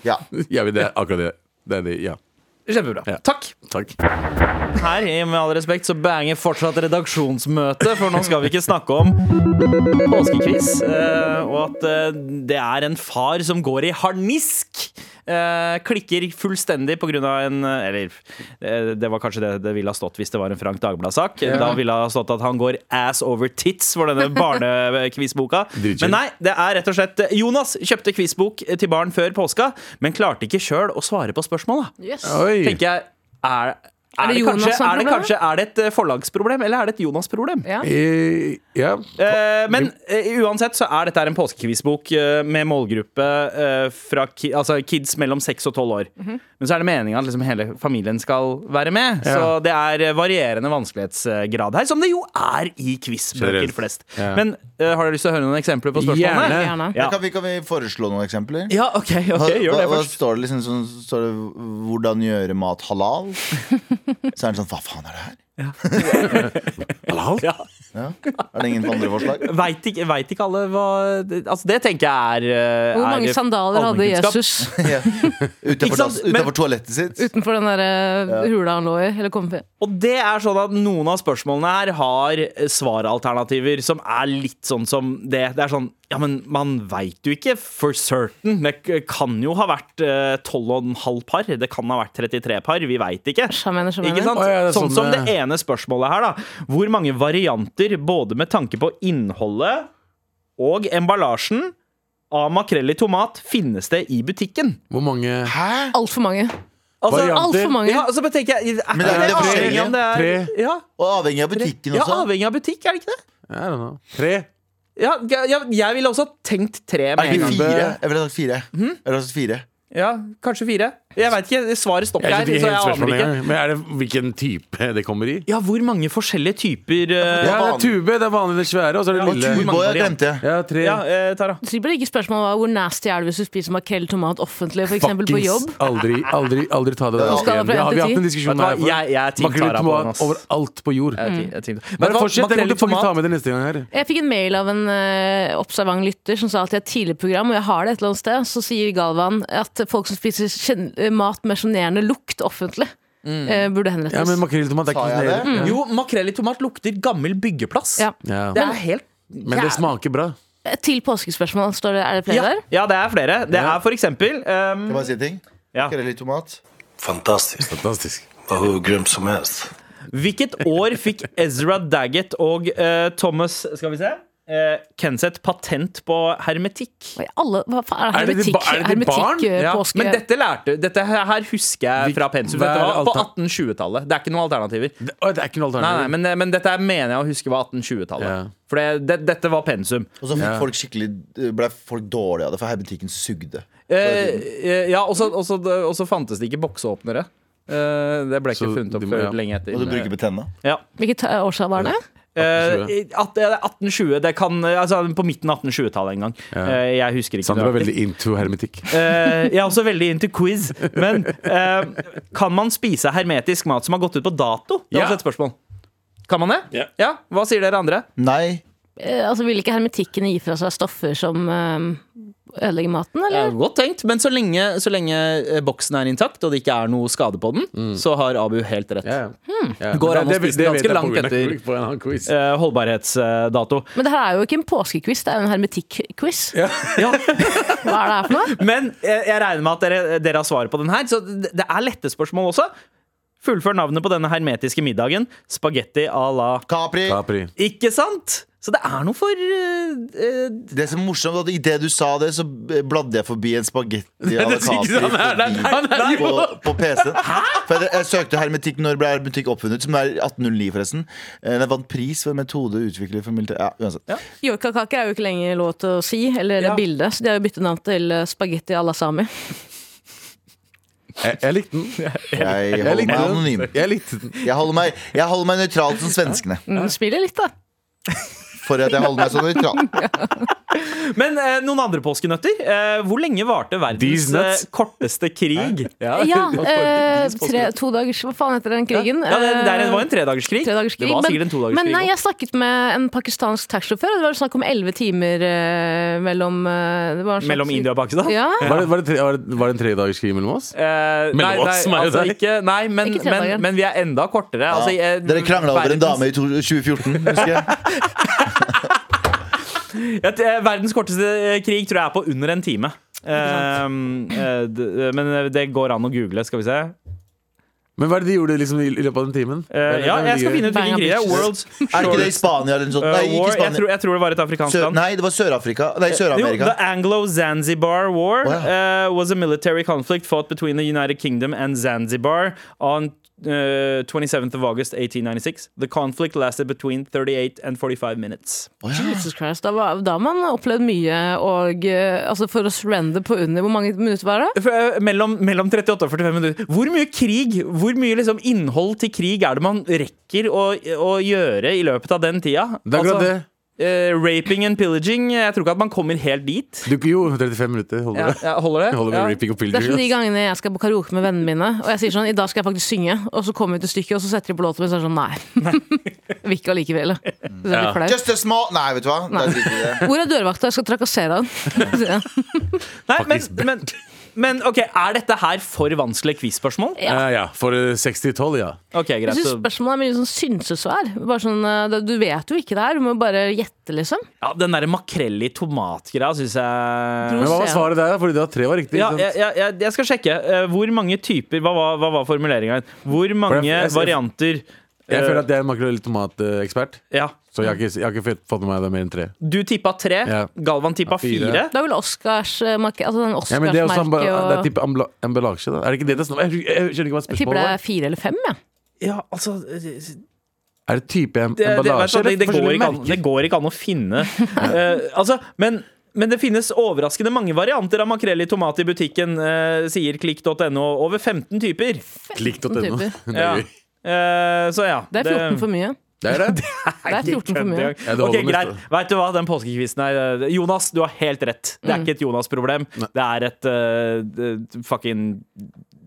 Speaker 2: Ja.
Speaker 4: Ja, men det er akkurat det. Det er det, ja.
Speaker 3: Kjempebra.
Speaker 4: Ja.
Speaker 3: Takk.
Speaker 4: Takk.
Speaker 3: Her, i med all respekt, så banger fortsatt redaksjonsmøte, for nå skal vi ikke snakke om påskekviss, eh, og at eh, det er en far som går i harnisk. eh, klikker fullstendig pga. en eh, Eller eh, det var kanskje det det ville ha stått hvis det var en Frank Dagblad-sak. Da ville det ha stått at han går ass over tits for denne barnekvissboka.
Speaker 4: Dritkjent.
Speaker 3: Men nei, det er rett og slett eh, Jonas kjøpte quizbok til barn før påska, men klarte ikke sjøl å svare på spørsmål. Da
Speaker 5: Yes.
Speaker 4: Oi.
Speaker 3: tenker jeg er, er,
Speaker 5: Er
Speaker 3: det
Speaker 5: det Jonas
Speaker 3: kanskje,
Speaker 5: som
Speaker 3: er, det
Speaker 5: problemet?
Speaker 3: kanskje, er det et eh, forlagsproblem, eller er det et Jonas-problem?
Speaker 5: Ja.
Speaker 4: Eh, ja.
Speaker 3: Eh, men eh, uansett så er dette her en påskekvissbok eh, med målgruppe eh, fra ki altså kids mellom 6 og 12 år.
Speaker 5: Mhm.
Speaker 3: Men så er det meninga at liksom hele familien skal være med. Så det er eh, varierende vanskelighetsgrad her, som det jo er i quizbøker
Speaker 4: Generelt.
Speaker 3: flest.
Speaker 4: Ja.
Speaker 3: Men eh, har dere lyst til å høre noen eksempler på spørsmålene?
Speaker 4: Gjerne.
Speaker 5: Gjerne.
Speaker 3: Ja.
Speaker 2: Kan, vi, kan vi foreslå noen eksempler?
Speaker 3: Ja, ok, ok, gjør
Speaker 2: hva,
Speaker 3: det
Speaker 2: hva
Speaker 3: først.
Speaker 2: står det liksom sånn, står det, Hvordan gjøre mat halal? Så er det sånn Hva faen er det her?
Speaker 4: Halal?
Speaker 3: Ja.
Speaker 2: Ja. Er det ingen andre forslag?
Speaker 3: Veit ikke, vet ikke alle hva Altså, det tenker jeg er eh,
Speaker 5: Hvor
Speaker 3: er
Speaker 5: mange sandaler hadde
Speaker 3: allmennkunnskap.
Speaker 5: Jesus
Speaker 2: Ja.
Speaker 3: Ikke
Speaker 2: Utenfor,
Speaker 3: sant?
Speaker 2: dass-
Speaker 3: Men-
Speaker 2: utenfor toalettet sitt?
Speaker 5: utenfor den der eh, hula han lå i? Eller kom
Speaker 3: Og det er sånn at noen av spørsmålene her har eh, svaralternativer som er litt sånn som det. Det er sånn Ja, men man veit jo ikke for certain. Det k- kan jo ha vært eh, 12,5 par. Det kan ha vært 33 par. Vi veit ikke.
Speaker 5: Skjønner, skjønner.
Speaker 3: Ikke sant?
Speaker 4: Å, ja, det er
Speaker 3: sånn,
Speaker 4: sånn,
Speaker 3: som det
Speaker 4: eh,
Speaker 3: ene spørsmålet her, da. Hvor mange varianter, både med tanke på innholdet og emballasjen, av makrell i tomat finnes det i butikken?
Speaker 4: Hvor mange
Speaker 2: Hæ?
Speaker 5: Altfor mange.
Speaker 3: Altså,
Speaker 4: Varianter?
Speaker 5: Altfor mange.
Speaker 3: ja, altså, bare tenker jeg er
Speaker 2: Men det er- det er
Speaker 3: avhengig om det
Speaker 4: Tre.
Speaker 3: er- Ja.
Speaker 2: Og avhengig av butikken
Speaker 3: Ja,
Speaker 2: også.
Speaker 3: avhengig av butikk, er det ikke det?
Speaker 4: I don't know. Tre?
Speaker 3: Ja, ja, ja, jeg ville også tenkt tre
Speaker 2: Er
Speaker 3: med
Speaker 2: det
Speaker 3: en
Speaker 2: ikke
Speaker 3: gang.
Speaker 2: fire? Jeg ville sagt fire.
Speaker 3: Hmm?
Speaker 2: Jeg ville sagt fire.
Speaker 3: Ja, kanskje fire. Jeg veit ikke. Svaret stopper
Speaker 4: Jeg
Speaker 3: her.
Speaker 4: skjønte ikke
Speaker 3: Så jeg
Speaker 4: helt
Speaker 3: aner
Speaker 4: spørsmålet
Speaker 3: ikke.
Speaker 4: engang. Men er det hvilken type det kommer i?
Speaker 3: Ja, hvor mange forskjellige typer eh,
Speaker 4: Ja, det er
Speaker 2: vanlig.
Speaker 4: tube, det er vanlig det svære, og så er det
Speaker 3: Ja,
Speaker 4: lille.
Speaker 3: Hvor mange
Speaker 2: Boy, jeg
Speaker 3: varianter?
Speaker 2: glemte jeg.
Speaker 4: Ja, tre.
Speaker 3: Ja, eh, Tara.
Speaker 5: Så det blir ikke spørsmålet var hvor nasty er det hvis du spiser makrell i tomat offentlig, f.eks. på
Speaker 4: Fuckings
Speaker 5: jobb?
Speaker 4: Aldri, aldri, aldri ta det der
Speaker 2: Du
Speaker 4: opp
Speaker 5: skal
Speaker 4: igjen.
Speaker 5: fra
Speaker 4: Vi har, vi har
Speaker 5: en til
Speaker 4: hatt en
Speaker 5: ti.
Speaker 4: diskusjon
Speaker 3: Vet du hva?
Speaker 4: her. før.
Speaker 3: Jeg- jeg er team
Speaker 4: Makrell i
Speaker 3: Tara på
Speaker 4: tomat
Speaker 3: den, ass.
Speaker 4: overalt på jord.
Speaker 5: Mm.
Speaker 3: Men
Speaker 4: Bare fortsett, jeg kommer til å faktisk ta med det neste gang her.
Speaker 5: Jeg fikk en mail av en eh, observant lytter som sa at jeg har et tidligere program, og jeg har det et eller annet sted. Så sier Galvan at folk som spiser kjen- eh, mat med sjenerende lukt offentlig,
Speaker 4: Mm.
Speaker 5: eh, burde henrettes.
Speaker 4: Ja, men makrell i tomat er
Speaker 2: Sa
Speaker 4: ikke
Speaker 2: jeg det?
Speaker 4: sånn
Speaker 3: Jo, makrell i tomat lukter gammel byggeplass.
Speaker 5: Mm. Ja.
Speaker 4: Ja.
Speaker 3: Det er helt
Speaker 4: Men det smaker bra.
Speaker 5: Til påskespørsmål, står det, er det flere
Speaker 3: ja,
Speaker 5: der?
Speaker 3: ja, det er flere. Det
Speaker 4: Ja.
Speaker 3: er for eksempel ehm,
Speaker 2: Kan jeg bare si en ting?
Speaker 3: Ja.
Speaker 2: Skal jeg ha litt tomat?
Speaker 8: Fantastisk.
Speaker 4: Fantastisk.
Speaker 8: Var hur grym som helst.
Speaker 3: Hvilket år fikk Ezra Daggett og eh, Thomas Skal vi se eh, Kenseth patent på hermetikk?
Speaker 5: Oi, Alle, hva faen,
Speaker 4: Er
Speaker 5: er
Speaker 4: det til
Speaker 5: hermetikk,
Speaker 4: ba- er det til barn?
Speaker 5: hermetikk eh,
Speaker 3: Ja,
Speaker 5: påske?
Speaker 3: Men dette lærte Dette her her husker
Speaker 4: Vi-
Speaker 3: jeg fra pensum. Dette
Speaker 4: hver
Speaker 3: var på
Speaker 4: alter-
Speaker 3: 1820-tallet. Det er ikke noen alternativer. Nei,
Speaker 4: Det, å, det er ikke noe
Speaker 3: nei,
Speaker 4: alternativ.
Speaker 3: men, eh, men dette her mener jeg å huske var 1820-tallet.
Speaker 4: Ja.
Speaker 3: For det, det, dette var pensum.
Speaker 2: Og så fikk
Speaker 4: Ja.
Speaker 2: folk skikkelig ble folk dårlige av det, for hermetikken sugde.
Speaker 3: Eh, eh, ja, og så- og så og så fantes det ikke bokseåpnere. Eh, det ble ikke
Speaker 4: Så
Speaker 3: funnet opp
Speaker 4: du må-
Speaker 3: før
Speaker 4: ja.
Speaker 3: lenge etter.
Speaker 2: Og du bruker på tenna.
Speaker 3: ja.
Speaker 5: Hvilket eh, årsak var det?
Speaker 3: Eh, i- at- det er 1820 det kan, altså, På midten av 1820-tallet en gang. Eh, jeg husker ikke.
Speaker 4: Sander var
Speaker 3: nøyaktig.
Speaker 4: veldig into hermetikk.
Speaker 3: Eh, jeg er også veldig into quiz. Men eh, kan man spise hermetisk mat som har gått ut på dato? Det er
Speaker 4: Ja.
Speaker 3: også et spørsmål. Kan man det? Ja. Hva sier dere andre?
Speaker 2: Nei.
Speaker 5: Eh, Altså, Ville ikke hermetikken gi fra seg stoffer som eh, ødelegge maten,
Speaker 3: Det
Speaker 5: eller?
Speaker 3: er Godt tenkt, men så lenge, så lenge eh, boksen er intakt og det ikke er noe skade på den, så har Abu helt rett.
Speaker 4: Mm. Ja, ja. Ja.
Speaker 3: Går
Speaker 4: Det-
Speaker 3: an å
Speaker 4: det-
Speaker 3: spise
Speaker 4: det
Speaker 3: ganske
Speaker 4: vet jeg på
Speaker 3: langt
Speaker 4: grunn av-
Speaker 3: etter.
Speaker 4: på en annen quiz.
Speaker 3: Eh, Holdbarhetsdato.
Speaker 5: Men det her er jo ikke en påskequiz, det er jo en hermetikk-quiz. Hva er det her for noe?
Speaker 3: Men eh, jeg regner med at dere, dere har svaret på den her, så det det er lette spørsmål også. Fullfør navnet på denne hermetiske middagen. Spagetti à la
Speaker 2: Capri.
Speaker 4: Capri.
Speaker 3: Ikke sant? Så det er noe for eh, eh,
Speaker 2: Det som er morsomt, at idet du sa det, så bladde jeg forbi en spagetti à la
Speaker 4: det sier
Speaker 2: Capri
Speaker 4: ikke han er der.
Speaker 2: forbi
Speaker 4: Han er
Speaker 2: på,
Speaker 4: jo-
Speaker 2: på PC-en. For jeg, jeg søkte hermetikk når ble hermetikk oppfunnet, som er 1809, forresten. Eh, Den vant pris for en metode utviklet for militæret Ja, uansett.
Speaker 5: Yorkakaker er jo ikke lenger lov til å si, eller
Speaker 3: Ja.
Speaker 5: bilde, så de har jo byttet navn til eh, spagetti à la sami.
Speaker 4: Jeg, jeg likte
Speaker 2: Jeg
Speaker 4: den. Jeg
Speaker 2: holder meg
Speaker 4: likte
Speaker 2: anonym.
Speaker 4: den. Jeg likte den.
Speaker 2: Jeg holder meg, jeg holder meg nøytral som svenskene.
Speaker 5: Mm, Spiller litt, da.
Speaker 2: For at jeg holder meg så nøytral.
Speaker 3: Men eh, noen andre påskenøtter? Eh, hvor lenge varte verdens
Speaker 4: These nuts.
Speaker 3: eh, korteste krig?
Speaker 4: Ja.
Speaker 5: Ja, eh, tre, to dagers Hva faen heter den krigen?
Speaker 3: Ja, det, det er- det var en
Speaker 5: Eh,
Speaker 3: tredagerskrig.
Speaker 5: tredagerskrig,
Speaker 3: det var
Speaker 5: men-
Speaker 3: sikkert en
Speaker 5: Men
Speaker 3: todagerskrig.
Speaker 5: nei,
Speaker 3: også.
Speaker 5: jeg snakket med en pakistansk taxisjåfør, og det var snakk om elleve timer eh, mellom eh, det var en slags-
Speaker 3: Mellom India og Pakistan?
Speaker 5: Ja.
Speaker 4: Var det, var det, tre, var det, var det en tredagerskrig mellom oss?
Speaker 3: Eh, nei,
Speaker 4: Mellom
Speaker 3: nei,
Speaker 4: oss, meg og
Speaker 3: altså,
Speaker 4: deg.
Speaker 3: ikke, nei men,
Speaker 5: Ikke
Speaker 3: men,
Speaker 5: tredagen.
Speaker 3: men vi er enda kortere. Altså,
Speaker 2: Ja.
Speaker 3: jeg-
Speaker 2: Dere krangla over en dame i to- 2014, husker jeg.
Speaker 3: verdens, ja, eh, verdens korteste eh, krig tror jeg er på under en time. Eh, eh, d- men det går an å google, skal vi se.
Speaker 4: Men hva er det de gjorde liksom, i, i løpet av den timen?
Speaker 3: Eh, ja, jeg skal finne ut hvilken krig det er. World's
Speaker 2: Er det ikke det i
Speaker 3: Shortest
Speaker 2: Spania eller noe sånt?
Speaker 3: eh,
Speaker 2: Nei, ikke
Speaker 3: War. Jeg tror,
Speaker 2: Spania.
Speaker 3: jeg tror det var et afrikansk
Speaker 2: Sø
Speaker 3: land.
Speaker 2: nei, det var Sør-Afrika. Nei,
Speaker 3: Jo,
Speaker 2: Sør-Amerika.
Speaker 3: the Anglo-Zanzibar War
Speaker 2: Å,
Speaker 3: uh, was a military conflict fought between the United Kingdom and Zanzibar on uh, 27th of August 1896. The conflict lasted between 38 and 45 minutes.
Speaker 5: Jesus Christ, da, var, da har man opplevd mye, og eh, altså for å surrender på under Hvor mange minutter var det?
Speaker 3: For, eh, Mellom, mellom 38 og 45 minutter. Hvor mye krig, hvor mye liksom innhold til krig er det man rekker å, å gjøre i løpet av den tida?
Speaker 4: Det er akkurat det.
Speaker 3: eh, raping and pillaging, jeg tror ikke at man kommer helt dit.
Speaker 4: Du, jo, 35 minutter holder
Speaker 3: Ja,
Speaker 4: det.
Speaker 3: ja, holder det?
Speaker 4: Jeg holder med
Speaker 3: Ja.
Speaker 4: raping og
Speaker 5: Det er som de
Speaker 4: pillaging. ass.
Speaker 5: gangene jeg skal på karaoke med vennene mine, og jeg sier sånn I dag skal jeg faktisk synge, og så kommer vi til stykket, og så setter de på låten min, og så er det sånn Nei. Jeg Vil ikke allikevel. da.
Speaker 4: Mm.
Speaker 5: Så er det flaut.
Speaker 2: Just a small Nei, vet du hva. Det er sikkert det.
Speaker 5: Hvor er dørvakta? Jeg skal trakassere han. Ja.
Speaker 3: Nei, men, men, men ok, er dette her for vanskelige quiz-spørsmål?
Speaker 4: Eh, ja, for eh, 60-12, ja.
Speaker 3: Ok, greit
Speaker 5: Jeg synes
Speaker 3: så-
Speaker 5: spørsmålet er mye sånn synsesvær. Bare sånn, eh, det- du vet jo ikke det her, du må bare gjette, liksom.
Speaker 3: ja, Den der makrell i tomatgreia syns jeg
Speaker 4: Men hva var svaret der, da? Fordi det var tre var riktig.
Speaker 3: ja,
Speaker 4: ikke sant?
Speaker 3: jeg, jeg, jeg- jeg skal sjekke. Eh, Hvor mange typer Hva var, hva var formuleringa? Hvor mange
Speaker 4: For jeg- jeg-
Speaker 3: varianter eh,
Speaker 4: Jeg føler at jeg er makrell- og tomatekspert,
Speaker 3: ja.
Speaker 4: så jeg har ikke, jeg har ikke fått- fått med meg det mer enn tre.
Speaker 3: Du tippa tre.
Speaker 4: Ja.
Speaker 3: Galvan tippa
Speaker 4: fire.
Speaker 3: fire.
Speaker 5: Det er vel Oscars eh, marke- altså den
Speaker 4: Ja, men det er også amba,
Speaker 5: Oscarsmerket
Speaker 4: det er
Speaker 5: og
Speaker 4: type ambla- emballasje, da. Er det ikke det det er snakk om? Jeg, jeg skjønner ikke hva
Speaker 5: Jeg tipper det
Speaker 4: spørsmålet
Speaker 5: er
Speaker 4: var.
Speaker 5: fire eller fem, jeg.
Speaker 3: Ja, altså det,
Speaker 4: Er det type em-
Speaker 3: det, det, vet du
Speaker 4: emballasje?
Speaker 3: hva, det, det, går
Speaker 4: forskjellige
Speaker 3: ikke an,
Speaker 4: merker?
Speaker 3: det går ikke an å finne Eh, Altså, men men det finnes overraskende mange varianter av makrell i tomat i butikken, eh, sier klikk.no. Over 15 typer.
Speaker 4: Klikk.no.
Speaker 5: typer.
Speaker 4: Det
Speaker 3: Ja.
Speaker 4: er gøy.
Speaker 3: Eh, så ja.
Speaker 5: Det er 14 for mye.
Speaker 4: Det er det.
Speaker 5: Det er 14 for mye.
Speaker 4: Ja,
Speaker 3: Ok,
Speaker 4: det holder med
Speaker 3: greit.
Speaker 4: stå-
Speaker 3: Vet du hva, den påskekvisten her eh, Jonas, du har helt rett. Det
Speaker 5: Mm.
Speaker 3: er ikke et Jonas-problem. Det er et eh, fucking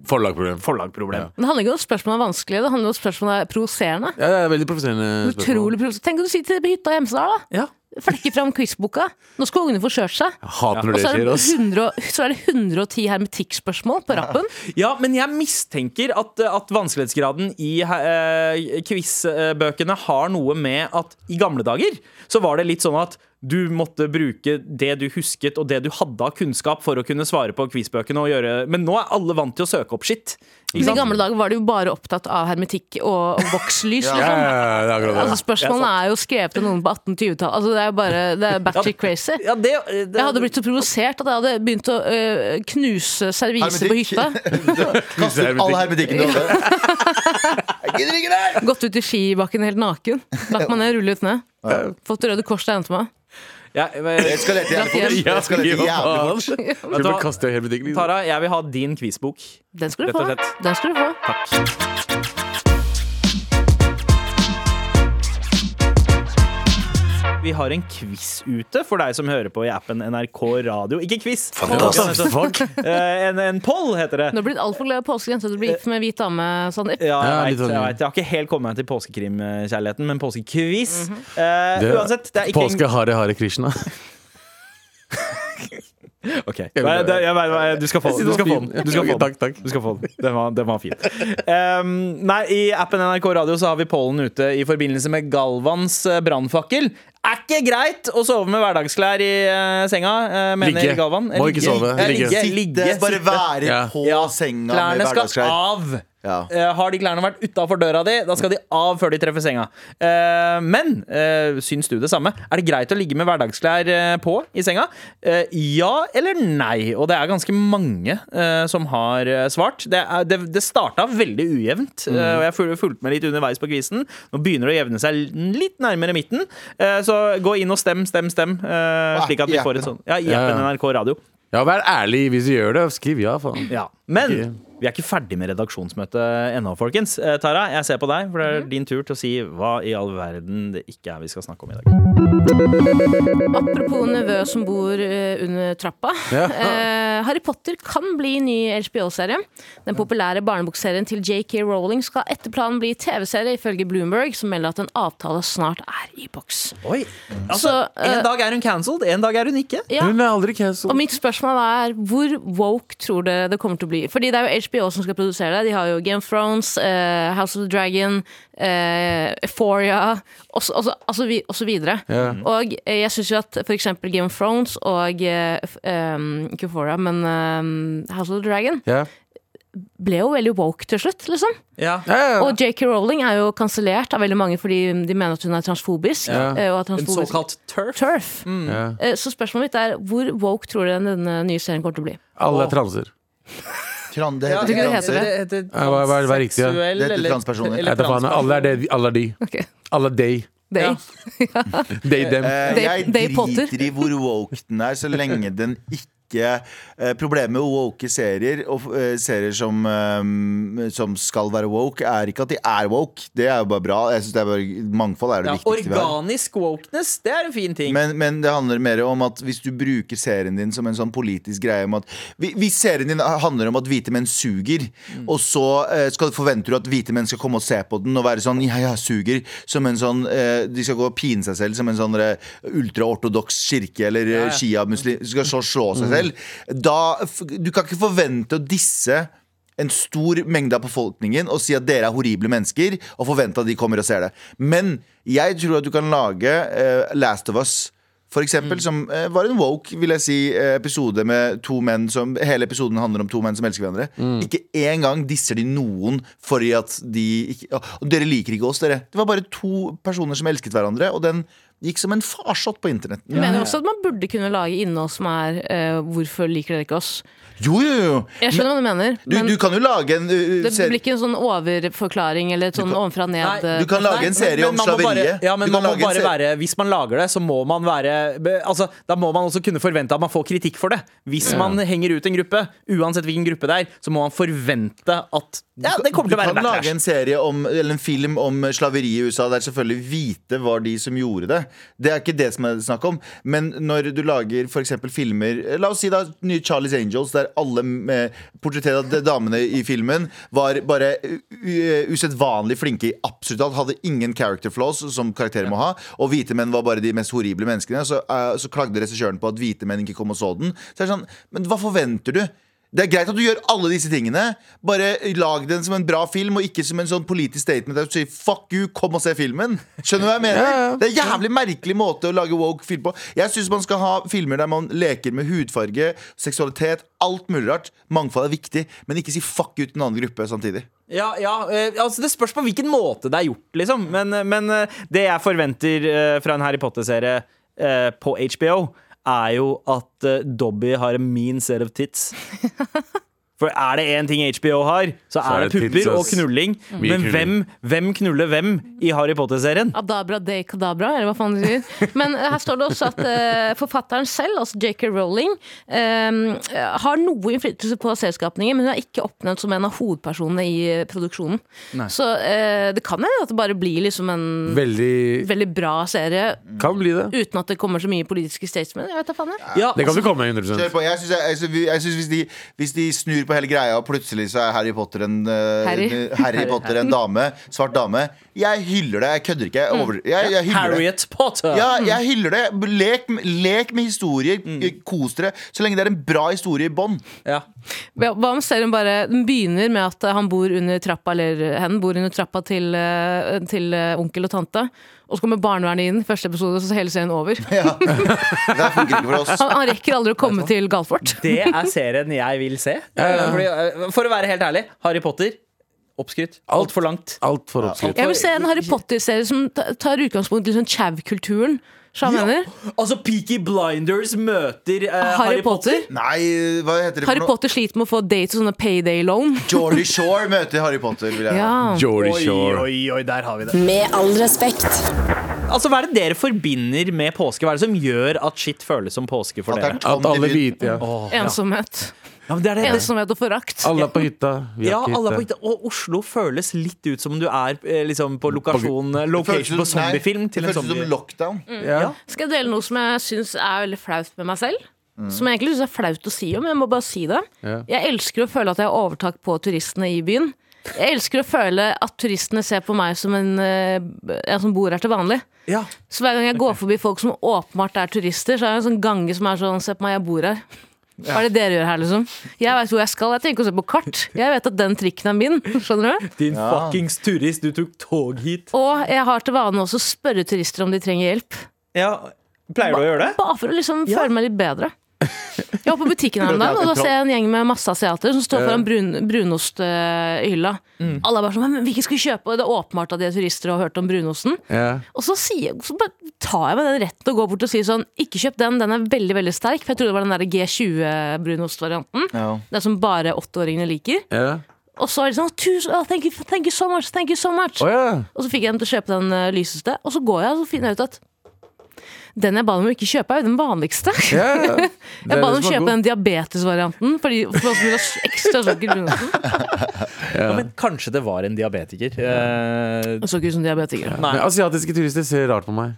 Speaker 4: Forlagproblem.
Speaker 3: forlagproblem.
Speaker 5: Men det handler ikke om at spørsmålet er vanskelig, det handler om at spørsmålet er provoserende.
Speaker 4: Ja, det er veldig provoserende spørsmål.
Speaker 5: Utrolig provoserende. Tenk om du sitter på hytta i Hemsedal, da.
Speaker 3: Ja.
Speaker 5: Flekker fram quizboka. Nå skal ungene få kjørt seg.
Speaker 4: Jeg hater når
Speaker 5: Og
Speaker 4: det
Speaker 5: så er
Speaker 4: skjer,
Speaker 5: det,
Speaker 4: ass.
Speaker 5: 100, og- så er det 110 hermetikkspørsmål på rappen.
Speaker 3: ja, men jeg mistenker at, at vanskelighetsgraden i uh, quizbøkene har noe med at i gamle dager så var det litt sånn at du måtte bruke det du husket og det du hadde av kunnskap for å kunne svare på quizbøkene. Og gjøre, men nå er alle vant til å søke opp shit. Ikke
Speaker 5: Men I
Speaker 3: sant?
Speaker 5: gamle dager var de jo bare opptatt av hermetikk og, og vokslys.
Speaker 4: Ja,
Speaker 5: liksom.
Speaker 4: ja, ja, det er akkurat
Speaker 5: Altså,
Speaker 4: det.
Speaker 5: spørsmålene er jo skrevet av noen på 1820-tallet. Altså, det er jo bare det er batchy crazy.
Speaker 3: Ja, det, det,
Speaker 5: Jeg hadde blitt så provosert at jeg hadde begynt å øh, knuse serviser på
Speaker 2: Hermetikk.
Speaker 5: hytta.
Speaker 2: Kast ut all hermetikken du hadde. Jeg gidder ikke det her!
Speaker 5: Gått ut i skibakken helt naken. Lagt meg ned, rullet ned. Fått Røde Kors til å hente meg.
Speaker 3: ja, men-
Speaker 2: Jeg eskalerte jævlig fort.
Speaker 4: Ja,
Speaker 2: Jeg eskalerte
Speaker 4: ja,
Speaker 2: jævlig fort.
Speaker 4: faen. Skal vi bare kaste hele butikken, liksom?
Speaker 3: Tara, jeg vil ha din quizbok.
Speaker 5: Den skal du
Speaker 3: Rett
Speaker 5: få.
Speaker 3: og slett.
Speaker 5: Den skal du få.
Speaker 3: Vi har en quiz ute for deg som hører på i appen NRK Radio. Ikke quiz! altså-
Speaker 8: Fantastisk.
Speaker 4: Fuck.
Speaker 3: Eh, en, en poll heter det.
Speaker 5: Nå blir det altfor glad i påsken, så du blir gift med hvit dame, Sandeep.
Speaker 3: Ja, jeg,
Speaker 4: Ja,
Speaker 3: vet,
Speaker 4: litt sånn.
Speaker 3: jeg, vet. jeg har ikke helt kommet meg til påskekrimkjærligheten, men påskekviss eh,
Speaker 4: Det-
Speaker 3: Uansett, det er ikke en-
Speaker 4: Påske hare hare Krishna.
Speaker 3: Ok. Nei, det, jeg, vet hva- du skal få den. Du skal få den. Du skal få den.
Speaker 4: Takk, takk.
Speaker 3: Du skal få den. Den var, den var fin. Ehm, nei, I appen NRK Radio så har vi pollen ute i forbindelse med Galvans eh, brannfakkel. Er ikke greit å sove med hverdagsklær i eh, senga, eh, mener
Speaker 4: Ligge.
Speaker 3: Galvan. Eh,
Speaker 4: Må ikke sove.
Speaker 3: Eh, Ligge.
Speaker 2: Sitte,
Speaker 3: ligge,
Speaker 2: bare
Speaker 3: sitte.
Speaker 2: være
Speaker 4: Ja.
Speaker 2: på
Speaker 3: Ja,
Speaker 2: senga med
Speaker 3: Klærne skal
Speaker 2: hverdagsklær.
Speaker 3: av.
Speaker 2: Ja.
Speaker 3: Eh, har de klærne vært utafor døra di, da skal de av før de treffer senga. Eh, men eh, syns du det samme? Er det greit å ligge med hverdagsklær eh, på i senga? Eh, ja eller nei? Og det er ganske mange eh, som har eh, svart. Det, er- det, det starta veldig ujevnt, eh,
Speaker 4: Mm.
Speaker 3: og jeg ful- fulgte med litt underveis på quizen. Nå begynner det å jevne seg l- litt nærmere midten, eh, så gå inn og stem, stem, stem.
Speaker 2: Ah,
Speaker 3: eh, slik at
Speaker 2: i
Speaker 3: vi får et
Speaker 2: appen.
Speaker 3: sånt. Ja, i appen
Speaker 4: Ja.
Speaker 3: NRK Radio.
Speaker 4: Ja, vær ærlig hvis du gjør det. Skriv ja, faen.
Speaker 3: Ja. Men
Speaker 4: Ok.
Speaker 3: vi er ikke ferdig med redaksjonsmøtet ennå, folkens. Eh, Tara, jeg ser på deg, for det
Speaker 4: Mhm.
Speaker 3: er din tur til å si hva i all verden det ikke er vi skal snakke om i dag.
Speaker 5: Apropos nevø som bor eh, under trappa. Eh, Harry Potter kan bli ny HBO-serie. Den populære barnebokserien til JK Rowling skal etter planen bli TV-serie, ifølge Bloomberg, som melder at en avtale snart er i boks.
Speaker 3: Oi, altså,
Speaker 5: Så, eh,
Speaker 3: En dag er hun cancelled, en dag er hun ikke.
Speaker 5: Ja.
Speaker 4: Hun er aldri
Speaker 5: Og
Speaker 4: cancelled.
Speaker 5: mitt spørsmål er hvor woke tror dere det kommer til å bli? Fordi det er jo HBO som skal produsere det. De har jo Game of Thrones, eh, House of the Dragon, eh, Euphoria og så- og så- altså vi- og så videre. Og eh, jeg syns jo at for eksempel Game of Thrones og eh, f- em, Ikke Euphoria, men em, House of the Dragon
Speaker 4: Ja.
Speaker 5: ble jo veldig woke til slutt, liksom.
Speaker 4: Ja, ja, ja.
Speaker 5: Og JK Rowling er jo kansellert av veldig mange fordi de mener at hun er transfobisk.
Speaker 4: Ja.
Speaker 5: eh, Og er
Speaker 3: En
Speaker 5: transfobisk.
Speaker 3: såkalt turf.
Speaker 5: Turf.
Speaker 4: ja.
Speaker 5: Eh, Så spørsmålet mitt er hvor woke tror dere denne nye serien kommer til å bli?
Speaker 4: Alle er transer.
Speaker 2: Tran- Det
Speaker 3: Ja,
Speaker 2: heter
Speaker 5: det
Speaker 2: transer.
Speaker 5: heter det?
Speaker 4: Ja, hva- hva er- hva er riktig, da?
Speaker 3: transseksuell,
Speaker 2: Det heter
Speaker 3: eller-
Speaker 2: transpersoner.
Speaker 3: eller
Speaker 4: Jeg vet da faen, alle er det, de- alle er de.
Speaker 5: Ok.
Speaker 4: Alle er they.
Speaker 5: Day.
Speaker 3: Ja.
Speaker 4: They, them.
Speaker 2: Eh,
Speaker 5: Dave-
Speaker 2: Jeg
Speaker 5: Dave Potter.
Speaker 2: driter i hvor woke den er, så lenge den ikke eh, Problemet med woke serier og eh, serier som, eh, som skal være woke, er ikke at de er woke. Det er jo bare bra. Jeg synes det er bare, Mangfold er det
Speaker 3: Ja,
Speaker 2: viktigste. vi har.
Speaker 3: organisk wokeness, det er en fin ting.
Speaker 2: Men, men det handler mer om at hvis du bruker serien din som en sånn politisk greie om at hvi- Hvis serien din handler om at hvite menn suger, og så eh, skal, forventer du at hvite menn skal komme og se på den og være sånn Ja, ja, suger. Som en sånn eh, De skal gå og pine seg selv som en sånn eh, ultraortodoks kirke eller ja, Mm.
Speaker 3: ja.
Speaker 2: sjiamuslim. Skal så slå seg selv. Da f- Du kan ikke forvente å disse en stor mengde av befolkningen og si at dere er horrible mennesker, og forvente at de kommer og ser det. Men jeg tror at du kan lage eh, Last of Us. For
Speaker 5: Mm.
Speaker 2: eksempel, som eh, var en woke vil jeg si, eh, episode med to menn som Hele episoden handler om to menn som elsker hverandre.
Speaker 5: Mm.
Speaker 2: Ikke én gang disser de noen fordi at de ikke «Å, Dere liker ikke oss, dere. Det var bare to personer som elsket hverandre, og den gikk som en farsott på internett.
Speaker 5: Jeg mener også at man burde kunne lage innhold som er eh, 'hvorfor liker dere ikke oss'?
Speaker 2: Jo, jo, jo!
Speaker 5: Jeg skjønner hva du mener,
Speaker 2: Du,
Speaker 5: men
Speaker 2: du kan jo lage en uh,
Speaker 5: det
Speaker 2: serie-
Speaker 5: blir ikke en sånn overforklaring eller et sånn ovenfra og ned.
Speaker 3: Nei,
Speaker 5: eh,
Speaker 2: Du kan lage
Speaker 5: nei,
Speaker 2: en serie
Speaker 3: Men
Speaker 2: om
Speaker 3: man må
Speaker 2: slaveriet.
Speaker 3: Bare, ja, men
Speaker 2: Du
Speaker 3: man
Speaker 2: kan
Speaker 3: må
Speaker 2: lage en
Speaker 3: bare
Speaker 2: serie-
Speaker 3: være, hvis man lager det, så må man være be- altså, Da må man også kunne forvente at man får kritikk for det. Hvis man henger ut en gruppe, uansett hvilken gruppe det er, så må man forvente at Ja, det kommer
Speaker 2: du
Speaker 3: til å være
Speaker 2: kan lage
Speaker 3: backlash.
Speaker 2: en serie om, eller en film om slaveri i USA der selvfølgelig hvite var de som gjorde det. Det er ikke det som er snakk om. Men når du lager for eksempel filmer La oss si da nye Charlies Angels, der alle eh, portrettet av de damene i filmen var bare u- u- usedvanlig flinke i absolutt alt. Hadde ingen character flaws som karakterer må ha. Og hvite menn var bare de mest horrible menneskene. Så, eh, så klagde regissøren på at hvite menn ikke kom og så den. Så er det sånn, Men hva forventer du? Det er greit at du gjør alle disse tingene. Bare lag den som en bra film, og ikke som en sånn politisk statement der du sier 'fuck you, kom og se filmen'. Skjønner du hva jeg mener? Det er en jævlig merkelig måte å lage woke film på. Jeg syns man skal ha filmer der man leker med hudfarge, seksualitet, alt mulig rart. Mangfold er viktig, men ikke si 'fuck you' til en annen gruppe samtidig.
Speaker 3: Ja, ja, eh, altså Det spørs på hvilken måte det er gjort, liksom. Men, eh, men eh, det jeg forventer eh, fra en Harry Potter-serie eh, på HBO, er jo at eh, Dobby har en mean set of tits. For er det én ting HBO har, så er det
Speaker 4: er det tits,
Speaker 3: pupper og
Speaker 4: ass.
Speaker 3: knulling.
Speaker 4: Mye
Speaker 3: Men hvem,
Speaker 4: knulling.
Speaker 3: hvem knuller hvem i Harry Potter-serien?
Speaker 5: Adabra de kadabra, eller hva faen de sier. Men eh, her står det også at eh, forfatteren selv, altså JK Rowling, eh, har noe innflytelse på selskapningen, men hun er ikke oppnevnt som en av hovedpersonene i eh, produksjonen. Så eh, det kan hende at det bare blir liksom en
Speaker 4: Veldig
Speaker 5: veldig bra serie
Speaker 4: Kan bli det.
Speaker 5: uten at det kommer så mye politiske statements. Jeg vet da faen jeg.
Speaker 3: Ja,
Speaker 4: Det kan
Speaker 3: altså,
Speaker 4: du komme med
Speaker 2: Kjør
Speaker 4: 100
Speaker 2: på. Jeg syns jeg- jeg syns- jeg syns hvis, de- hvis de snur på hele greia, og plutselig så er Harry Potter en, eh,
Speaker 5: Harry.
Speaker 2: en- Harry Potter en dame. Svart dame. Jeg hyller det. Jeg kødder ikke. Jeg, over, jeg, jeg hyller det.
Speaker 3: Harriet Potter!
Speaker 2: Ja,
Speaker 5: Mm.
Speaker 2: jeg hyller det. Lek, lek med historier. Kos dere. Så lenge det er en bra historie i bånn.
Speaker 3: Ja.
Speaker 5: Hva hva om serien bare den begynner med at eh, han bor under trappa Eller eh, hen bor under trappa til, eh, til eh, onkel og tante Og så kommer barnevernet inn i første episode Og så er hele serien over han,
Speaker 2: Ja. Det her funker ikke for oss.
Speaker 5: han rekker aldri å komme til Galfort
Speaker 3: Det er serien jeg vil se. Fordi, eh, for å være helt ærlig, Harry Potter oppskrytt. Altfor langt.
Speaker 4: Alt for oppskrytt.
Speaker 5: Jeg vil se en Harry Potter-serie som ta- tar utgangspunkt i sånn chav-kulturen Skjønner du?
Speaker 3: Altså, Peaky Blinders møter eh,
Speaker 5: Harry, Potter?
Speaker 2: Nei, hva heter det
Speaker 5: Harry
Speaker 2: for noe?
Speaker 5: Potter sliter med å få dates og sånne payday loan
Speaker 2: Jordy Shore møter Harry Potter. Vil jeg.
Speaker 5: Ja
Speaker 4: Jordy
Speaker 3: Oi,
Speaker 4: Shore.
Speaker 3: oi, oi, der har vi det.
Speaker 6: Med all respekt.
Speaker 3: Altså, Hva er det dere forbinder med påske? Hva er det som gjør at shit føles som påske
Speaker 2: At
Speaker 3: for
Speaker 2: det
Speaker 3: dere?
Speaker 2: er
Speaker 4: At
Speaker 2: tom i byen.
Speaker 4: alle hvite ja.
Speaker 5: Ensomhet
Speaker 3: Ja, men det er det.
Speaker 5: Ensomhet og forakt
Speaker 4: Alle er på hytta. Vi
Speaker 3: Ja,
Speaker 4: har ikke
Speaker 3: alle er på
Speaker 4: hytte.
Speaker 3: hytta. Og Oslo føles litt ut som om du er eh, liksom på lokasjon, eh,
Speaker 2: Det føles
Speaker 3: location på
Speaker 2: som- nei,
Speaker 3: zombiefilm til en
Speaker 2: Det føles
Speaker 3: zombie.
Speaker 2: som lockdown.
Speaker 5: Mm.
Speaker 4: Ja.
Speaker 5: Skal jeg dele noe som jeg syns er veldig flaut med meg selv? Som jeg egentlig syns er flaut å si om, men jeg må bare si det.
Speaker 4: Ja.
Speaker 5: Jeg elsker å føle at jeg har overtak på turistene i byen. Jeg elsker å føle at turistene ser på meg som en, eh, en som bor her til vanlig.
Speaker 3: Ja.
Speaker 5: Så hver gang jeg går forbi folk som åpenbart er turister, så er det en sånn gange som er sånn Se på meg, jeg bor her. Hva er det dere gjør her, liksom? Jeg veit hvor jeg skal. Jeg tenker å se på kart. Jeg vet at den trikken er min. Skjønner du?
Speaker 3: Din fuckings turist, du tok tog hit.
Speaker 5: Og jeg har til vane også å spørre turister om de trenger hjelp.
Speaker 3: Ja, Pleier du å gjøre det?
Speaker 5: Bare for å liksom føle meg litt bedre. Jeg var på butikken her om dagen, og da ser jeg en gjeng med masse asiater som står foran brun, brunosthylla. Alle er bare sånn «Men Hvilken skal vi kjøpe? Og det er åpenbart at de er turister og har hørt om brunosten.
Speaker 4: Ja.
Speaker 5: Og så, sier, så bare tar jeg meg den retten og går bort og sier sånn Ikke kjøp den, den er veldig veldig sterk. For jeg trodde det var den der G20-brunostvarianten.
Speaker 2: Ja.
Speaker 5: Den som bare åtteåringene liker.
Speaker 4: Ja.
Speaker 5: Og så er de sånn Tusen, oh, thank, you, thank you so much, thank you so much.
Speaker 4: Å ja.
Speaker 5: Og så fikk jeg dem til å kjøpe den eh, lyseste. Og så går jeg og så finner jeg ut at den jeg ba dem om ikke kjøpe, er jo den vanligste.
Speaker 4: ja. ja. Det
Speaker 5: Jeg
Speaker 4: er
Speaker 5: ba
Speaker 4: det
Speaker 5: dem
Speaker 4: som er
Speaker 5: kjøpe
Speaker 4: god.
Speaker 5: den diabetesvarianten. Fordi for oss vil ha ekstra sukker i sånn. brunosten.
Speaker 3: Ja, men kanskje det var en diabetiker. Eh,
Speaker 5: Jeg så ikke ut som diabetiker.
Speaker 4: Men
Speaker 3: nei.
Speaker 4: Asiatiske turister ser rart på meg.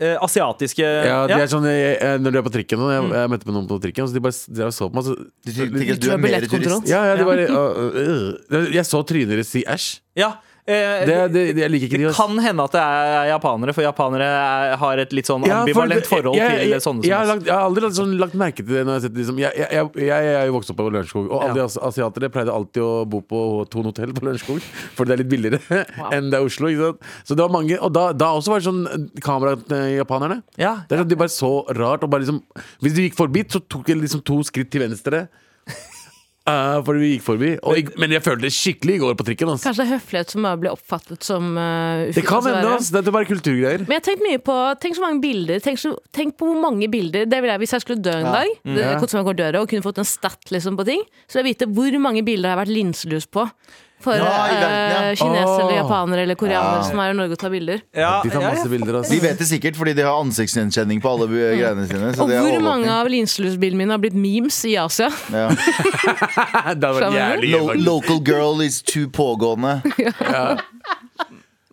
Speaker 3: eh, asiatiske
Speaker 4: Ja, de
Speaker 3: ja. Mm.
Speaker 4: er sånn, jeg, jeg, Når du er på trikken og jeg, jeg møtte på noen på trikken, og så de bare s- de og så på meg. Så,
Speaker 2: Du tenker at du
Speaker 5: tror
Speaker 2: er
Speaker 5: jeg
Speaker 2: mer
Speaker 5: billettkontroll.
Speaker 2: turist.
Speaker 4: ja, ja, de bare øh, øh, øh. Jeg så trynet deres si æsj.
Speaker 3: Ja, eh,
Speaker 4: Det, det, det, jeg liker ikke de.
Speaker 3: Det
Speaker 4: ass.
Speaker 3: kan hende at det er japanere, for japanere er, har et litt sånn ambivalent
Speaker 4: for-
Speaker 3: forhold
Speaker 4: jeg-
Speaker 3: til
Speaker 4: jeg-
Speaker 3: sånne
Speaker 4: jeg, har
Speaker 3: som oss.
Speaker 4: lagt, jeg har aldri lagt, sånn, lagt merke til det. Når jeg, har sett, liksom, jeg, jeg, jeg, jeg, jeg er jo vokst opp på Lørenskog, og alle
Speaker 3: Ja.
Speaker 4: de as- asiatere pleide alltid å bo på Thon hotell på Lørenskog, fordi det er litt billigere enn det er i Oslo. Ikke sant? Så det var mange, Og da, da også var det sånn eh, kamera eh, japanerne.
Speaker 3: Ja,
Speaker 4: Det er sånn, De bare så rart. Og bare liksom, hvis du gikk forbi, så tok jeg liksom to skritt til venstre. Eh, fordi vi gikk forbi. Og jeg, men jeg følte det skikkelig i går på trikken. ass.
Speaker 5: Kanskje det er høflighet som bare blir oppfattet som uh,
Speaker 4: Det kan hende, ass. Det er bare kulturgreier.
Speaker 5: Men jeg har tenkt mye på Tenk så mange bilder. Tenk, så, tenk på hvor mange bilder Det ville jeg hvis jeg skulle dø en dag.
Speaker 4: Mm.
Speaker 5: Det, hvordan jeg går døra, og kunne fått en stat liksom, på ting. Så vil jeg vite hvor mange bilder jeg har vært linselus på. For
Speaker 2: Ja, i verden, ja.
Speaker 5: eh, kinesere,
Speaker 4: Åh.
Speaker 5: eller japanere eller koreanere som er i Norge og tar bilder.
Speaker 3: ja,
Speaker 4: De tar
Speaker 3: ja,
Speaker 4: masse
Speaker 3: ja.
Speaker 4: bilder. altså. ass.
Speaker 2: De vet det sikkert, fordi de har ansiktsgjenkjenning på alle eh, greiene sine. Så
Speaker 5: Mm. Og
Speaker 2: det er
Speaker 5: hvor
Speaker 2: overvåkning.
Speaker 5: mange av linselusbilene mine har blitt memes i Asia?
Speaker 2: ja.
Speaker 4: Det var
Speaker 5: Skjønner du?
Speaker 4: jævlig
Speaker 2: Lo Local girl is too pågående.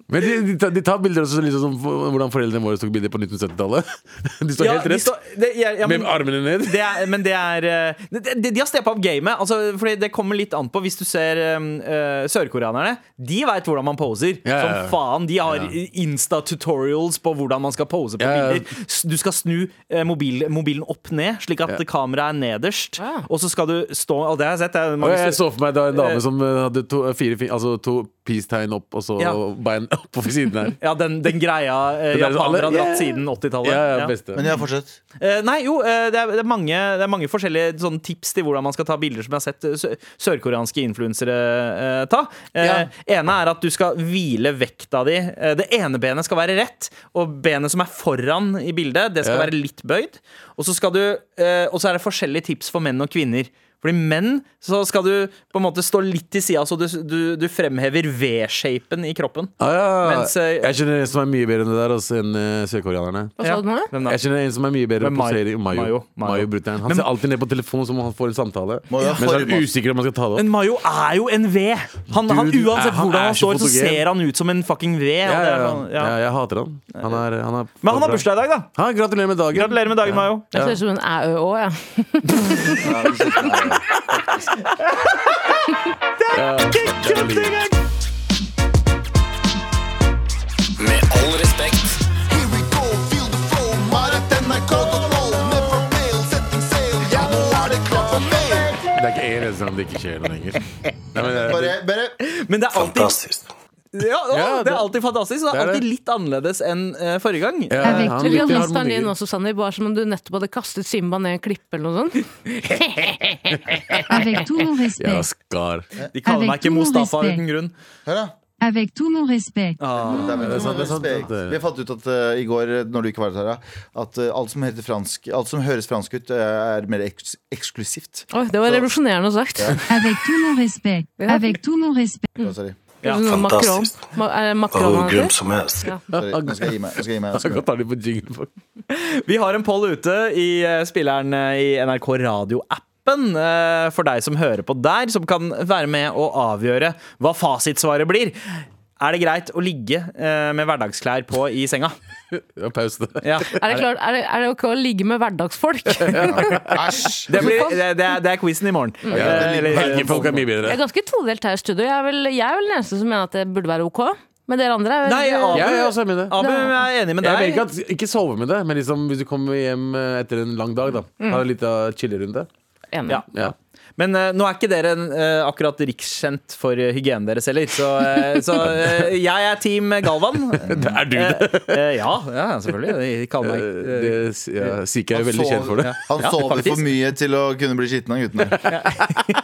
Speaker 4: Men de, de, tar, de tar bilder også liksom, som for- hvordan foreldrene våre tok bilder på 1970-tallet. De står
Speaker 3: Ja,
Speaker 4: helt
Speaker 3: de
Speaker 4: rett,
Speaker 3: står- det- ja, ja, men-
Speaker 4: med armene ned.
Speaker 3: det er, men det er eh, De, de, de har steppa opp gamet. Altså, fordi det kommer litt an på. Hvis du ser um, eh, sørkoreanerne, de veit hvordan man poser.
Speaker 4: Ja, ja, ja.
Speaker 3: Som faen. De har Insta-tutorials på hvordan man skal pose på
Speaker 4: Ja, ja.
Speaker 3: bilder. S- Du skal snu eh, mobil, mobilen opp ned, slik at kameraet er nederst.
Speaker 5: Ja.
Speaker 3: Og så skal du stå Og det har jeg sett. Det er
Speaker 4: Og
Speaker 3: mange
Speaker 4: jeg
Speaker 3: store-
Speaker 4: så for meg da en dame som eh, hadde to, fire, fin- altså, to peace-tegn opp, og så
Speaker 3: Ja.
Speaker 4: bein opp på siden her.
Speaker 3: ja, den, den greia eh,
Speaker 4: Den der som alle-
Speaker 3: japanere har dratt
Speaker 4: Ja.
Speaker 3: siden 80-tallet.
Speaker 4: Ja,
Speaker 3: Ja.
Speaker 4: ja, beste.
Speaker 2: Men ja, fortsett.
Speaker 3: Eh, nei, jo, eh, det er, det er, mange, det er mange forskjellige sånne tips til hvordan man skal ta bilder som jeg har sett eh, sø- sørkoreanske influensere eh, ta. Eh, Ene er at du skal hvile vekta di. Eh, det ene benet skal være rett, og benet som er foran i bildet, det skal
Speaker 4: Ja.
Speaker 3: være litt bøyd. Og så skal du, eh, og så er det forskjellige tips for menn og kvinner. Fordi menn så skal du på en måte stå litt til sida, så du, du, du fremhever V-shapen i kroppen.
Speaker 4: Ah, ja.
Speaker 3: Mens, eh,
Speaker 4: jeg kjenner en som er mye bedre enn det der altså, enn eh, sørkoreanerne.
Speaker 5: Hva sa du nå?
Speaker 3: Hvem da?
Speaker 4: Jeg kjenner en som er mye bedre
Speaker 3: Men
Speaker 4: på
Speaker 3: Mai-
Speaker 4: serie Mayo.
Speaker 3: Mayo,
Speaker 4: Mayo,
Speaker 3: Mayo.
Speaker 4: brutter'n. Han ser alltid ned på telefonen som om han får en samtale.
Speaker 2: Må jo ha
Speaker 4: Men så er
Speaker 2: form,
Speaker 4: han
Speaker 2: ass.
Speaker 4: usikker om han skal ta det opp.
Speaker 3: Men Mayo er jo en V! Han, han,
Speaker 4: Dude,
Speaker 3: uansett hvordan
Speaker 4: er- han er
Speaker 3: han
Speaker 4: så
Speaker 3: står, så
Speaker 4: fotogen.
Speaker 3: ser han ut som en fucking V. og
Speaker 4: Ja,
Speaker 3: det er
Speaker 4: ja, ja.
Speaker 3: sånn-
Speaker 4: ja,
Speaker 3: ja.
Speaker 4: jeg hater han. han, er, han er
Speaker 3: Men han har bursdag i dag, da.
Speaker 4: Ja, gratulerer med dagen.
Speaker 3: Gratulerer med dagen, Mayo.
Speaker 5: Jeg ser ut som en æø òg, jeg.
Speaker 2: Ja, vi sitter her.
Speaker 7: Med all respekt.
Speaker 4: Det er ikke en eneste gang det ikke skjer noe lenger. Nei, men, eh, det er-
Speaker 2: Bare, bare
Speaker 3: Men det er alltid,
Speaker 8: Fantastisk.
Speaker 3: ja, å,
Speaker 4: Ja,
Speaker 3: det
Speaker 4: det-
Speaker 3: er alltid fantastisk. og Det
Speaker 4: Det
Speaker 3: er
Speaker 4: er det.
Speaker 3: alltid litt annerledes enn eh, forrige gang.
Speaker 4: Ja,
Speaker 5: Jeg
Speaker 4: han
Speaker 5: likte
Speaker 4: likte
Speaker 5: litt
Speaker 4: harmonier.
Speaker 5: mesteren din også, Sandeep. Bare som om du nettopp hadde kastet Simba ned en klippe eller noe sånt.
Speaker 9: Avec tout mon
Speaker 4: Ja,
Speaker 9: respect.
Speaker 4: skar.
Speaker 3: De kaller meg ikke
Speaker 9: Avec tout mon
Speaker 3: Mustafa
Speaker 9: respect.
Speaker 3: uten grunn.
Speaker 2: Hør, da.
Speaker 9: Avec tout mon respect.
Speaker 2: Det er vel
Speaker 4: Ah, det er sant, det er sant,
Speaker 2: respekt.
Speaker 4: det
Speaker 2: Vi
Speaker 4: er-
Speaker 2: fant ut at eh, i går, eh, når du ikke var der, Tara, at eh, alt, som heter fransk, alt som høres fransk ut, eh, er mer eks eksklusivt.
Speaker 5: Oi, det var revolusjonerende sagt.
Speaker 9: Avec tout mon respect. Avec tout mon respect.
Speaker 4: Mm.
Speaker 2: Ja, sorry.
Speaker 3: Ja,
Speaker 5: Sånn Macron.
Speaker 8: fantastisk.
Speaker 5: Ma eh, er det Macron
Speaker 8: Hvor
Speaker 5: han
Speaker 8: grym
Speaker 5: heter?
Speaker 8: som helst.
Speaker 2: sorry. Nå skal jeg gi meg. Nå skal jeg gi meg.
Speaker 4: Jeg kan ta litt på jingle, faktisk.
Speaker 3: Vi har en poll ute i eh, spilleren eh, i NRK Radio-appen eh, for deg som hører på der, som kan være med å avgjøre hva fasitsvaret blir. Er det greit å ligge eh, med hverdagsklær på i senga?
Speaker 4: Det var pause. det.
Speaker 3: Ja.
Speaker 5: Er det, klart, er, det, er det ok å ligge med hverdagsfolk? Det
Speaker 2: Æsj!
Speaker 3: Det, blir, det, det, er, det er quizen i morgen. Eh, eller-
Speaker 4: Folk er mye bedre.
Speaker 5: er ganske todelt her i studio. Jeg er vel, jeg er vel den eneste som mener at det burde være ok. Men dere andre er vel
Speaker 3: Nei, Abu,
Speaker 4: Ja, jeg er også enig i det.
Speaker 3: Abu jeg er enig med
Speaker 4: Jeg mener
Speaker 3: deg.
Speaker 4: ikke at ikke sove med det, men liksom hvis du kommer hjem eh, etter en lang dag, da.
Speaker 3: Mm.
Speaker 4: Ha en liten chillerunde.
Speaker 5: enig.
Speaker 3: Ja.
Speaker 4: Ja.
Speaker 3: Men eh, nå er ikke dere eh, akkurat rikskjent for eh, hygienen deres heller, så, eh, så eh, jeg er team Galvan.
Speaker 4: Er du det?
Speaker 3: Eh, eh, ja, ja, selvfølgelig. De kaller meg eh,
Speaker 4: Det s- ja, Sika er jo veldig
Speaker 2: sover-
Speaker 4: kjent for det.
Speaker 2: Han
Speaker 3: Ja,
Speaker 2: sover
Speaker 3: faktisk.
Speaker 2: for mye til å kunne bli skitten av gutten her.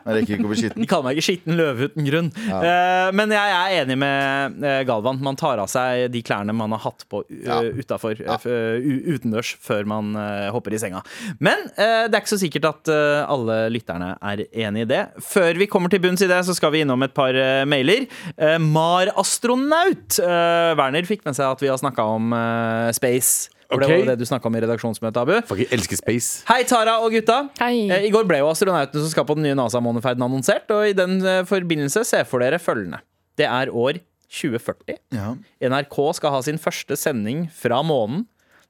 Speaker 2: Jeg rekker ikke å bli skitten.
Speaker 3: De kaller meg ikke skitten løve uten grunn. Eh, men jeg er enig med eh, Galvan. Man tar av seg de klærne man har hatt på uh,
Speaker 2: Ja.
Speaker 3: utafor, eh, f- u- utendørs, før man eh, hopper i senga. Men eh, det er ikke så sikkert at eh, alle lytterne er enig i det. Før vi kommer til bunns i det, så skal vi innom et par eh, mailer. Eh, Mar Astronaut eh, Werner fikk med seg at vi har snakka om eh, space. For Det
Speaker 4: Ok.
Speaker 3: var jo det du snakka om i redaksjonsmøtet, Abu.
Speaker 4: Fuck, jeg elsker space.
Speaker 3: Hei, Tara og gutta.
Speaker 5: Hei.
Speaker 3: Eh, I går ble jo astronautene som skal på den nye NASA-måneferden annonsert, og i den eh, forbindelse ser for dere følgende. Det er år 2040.
Speaker 2: Ja.
Speaker 3: NRK skal ha sin første sending fra månen.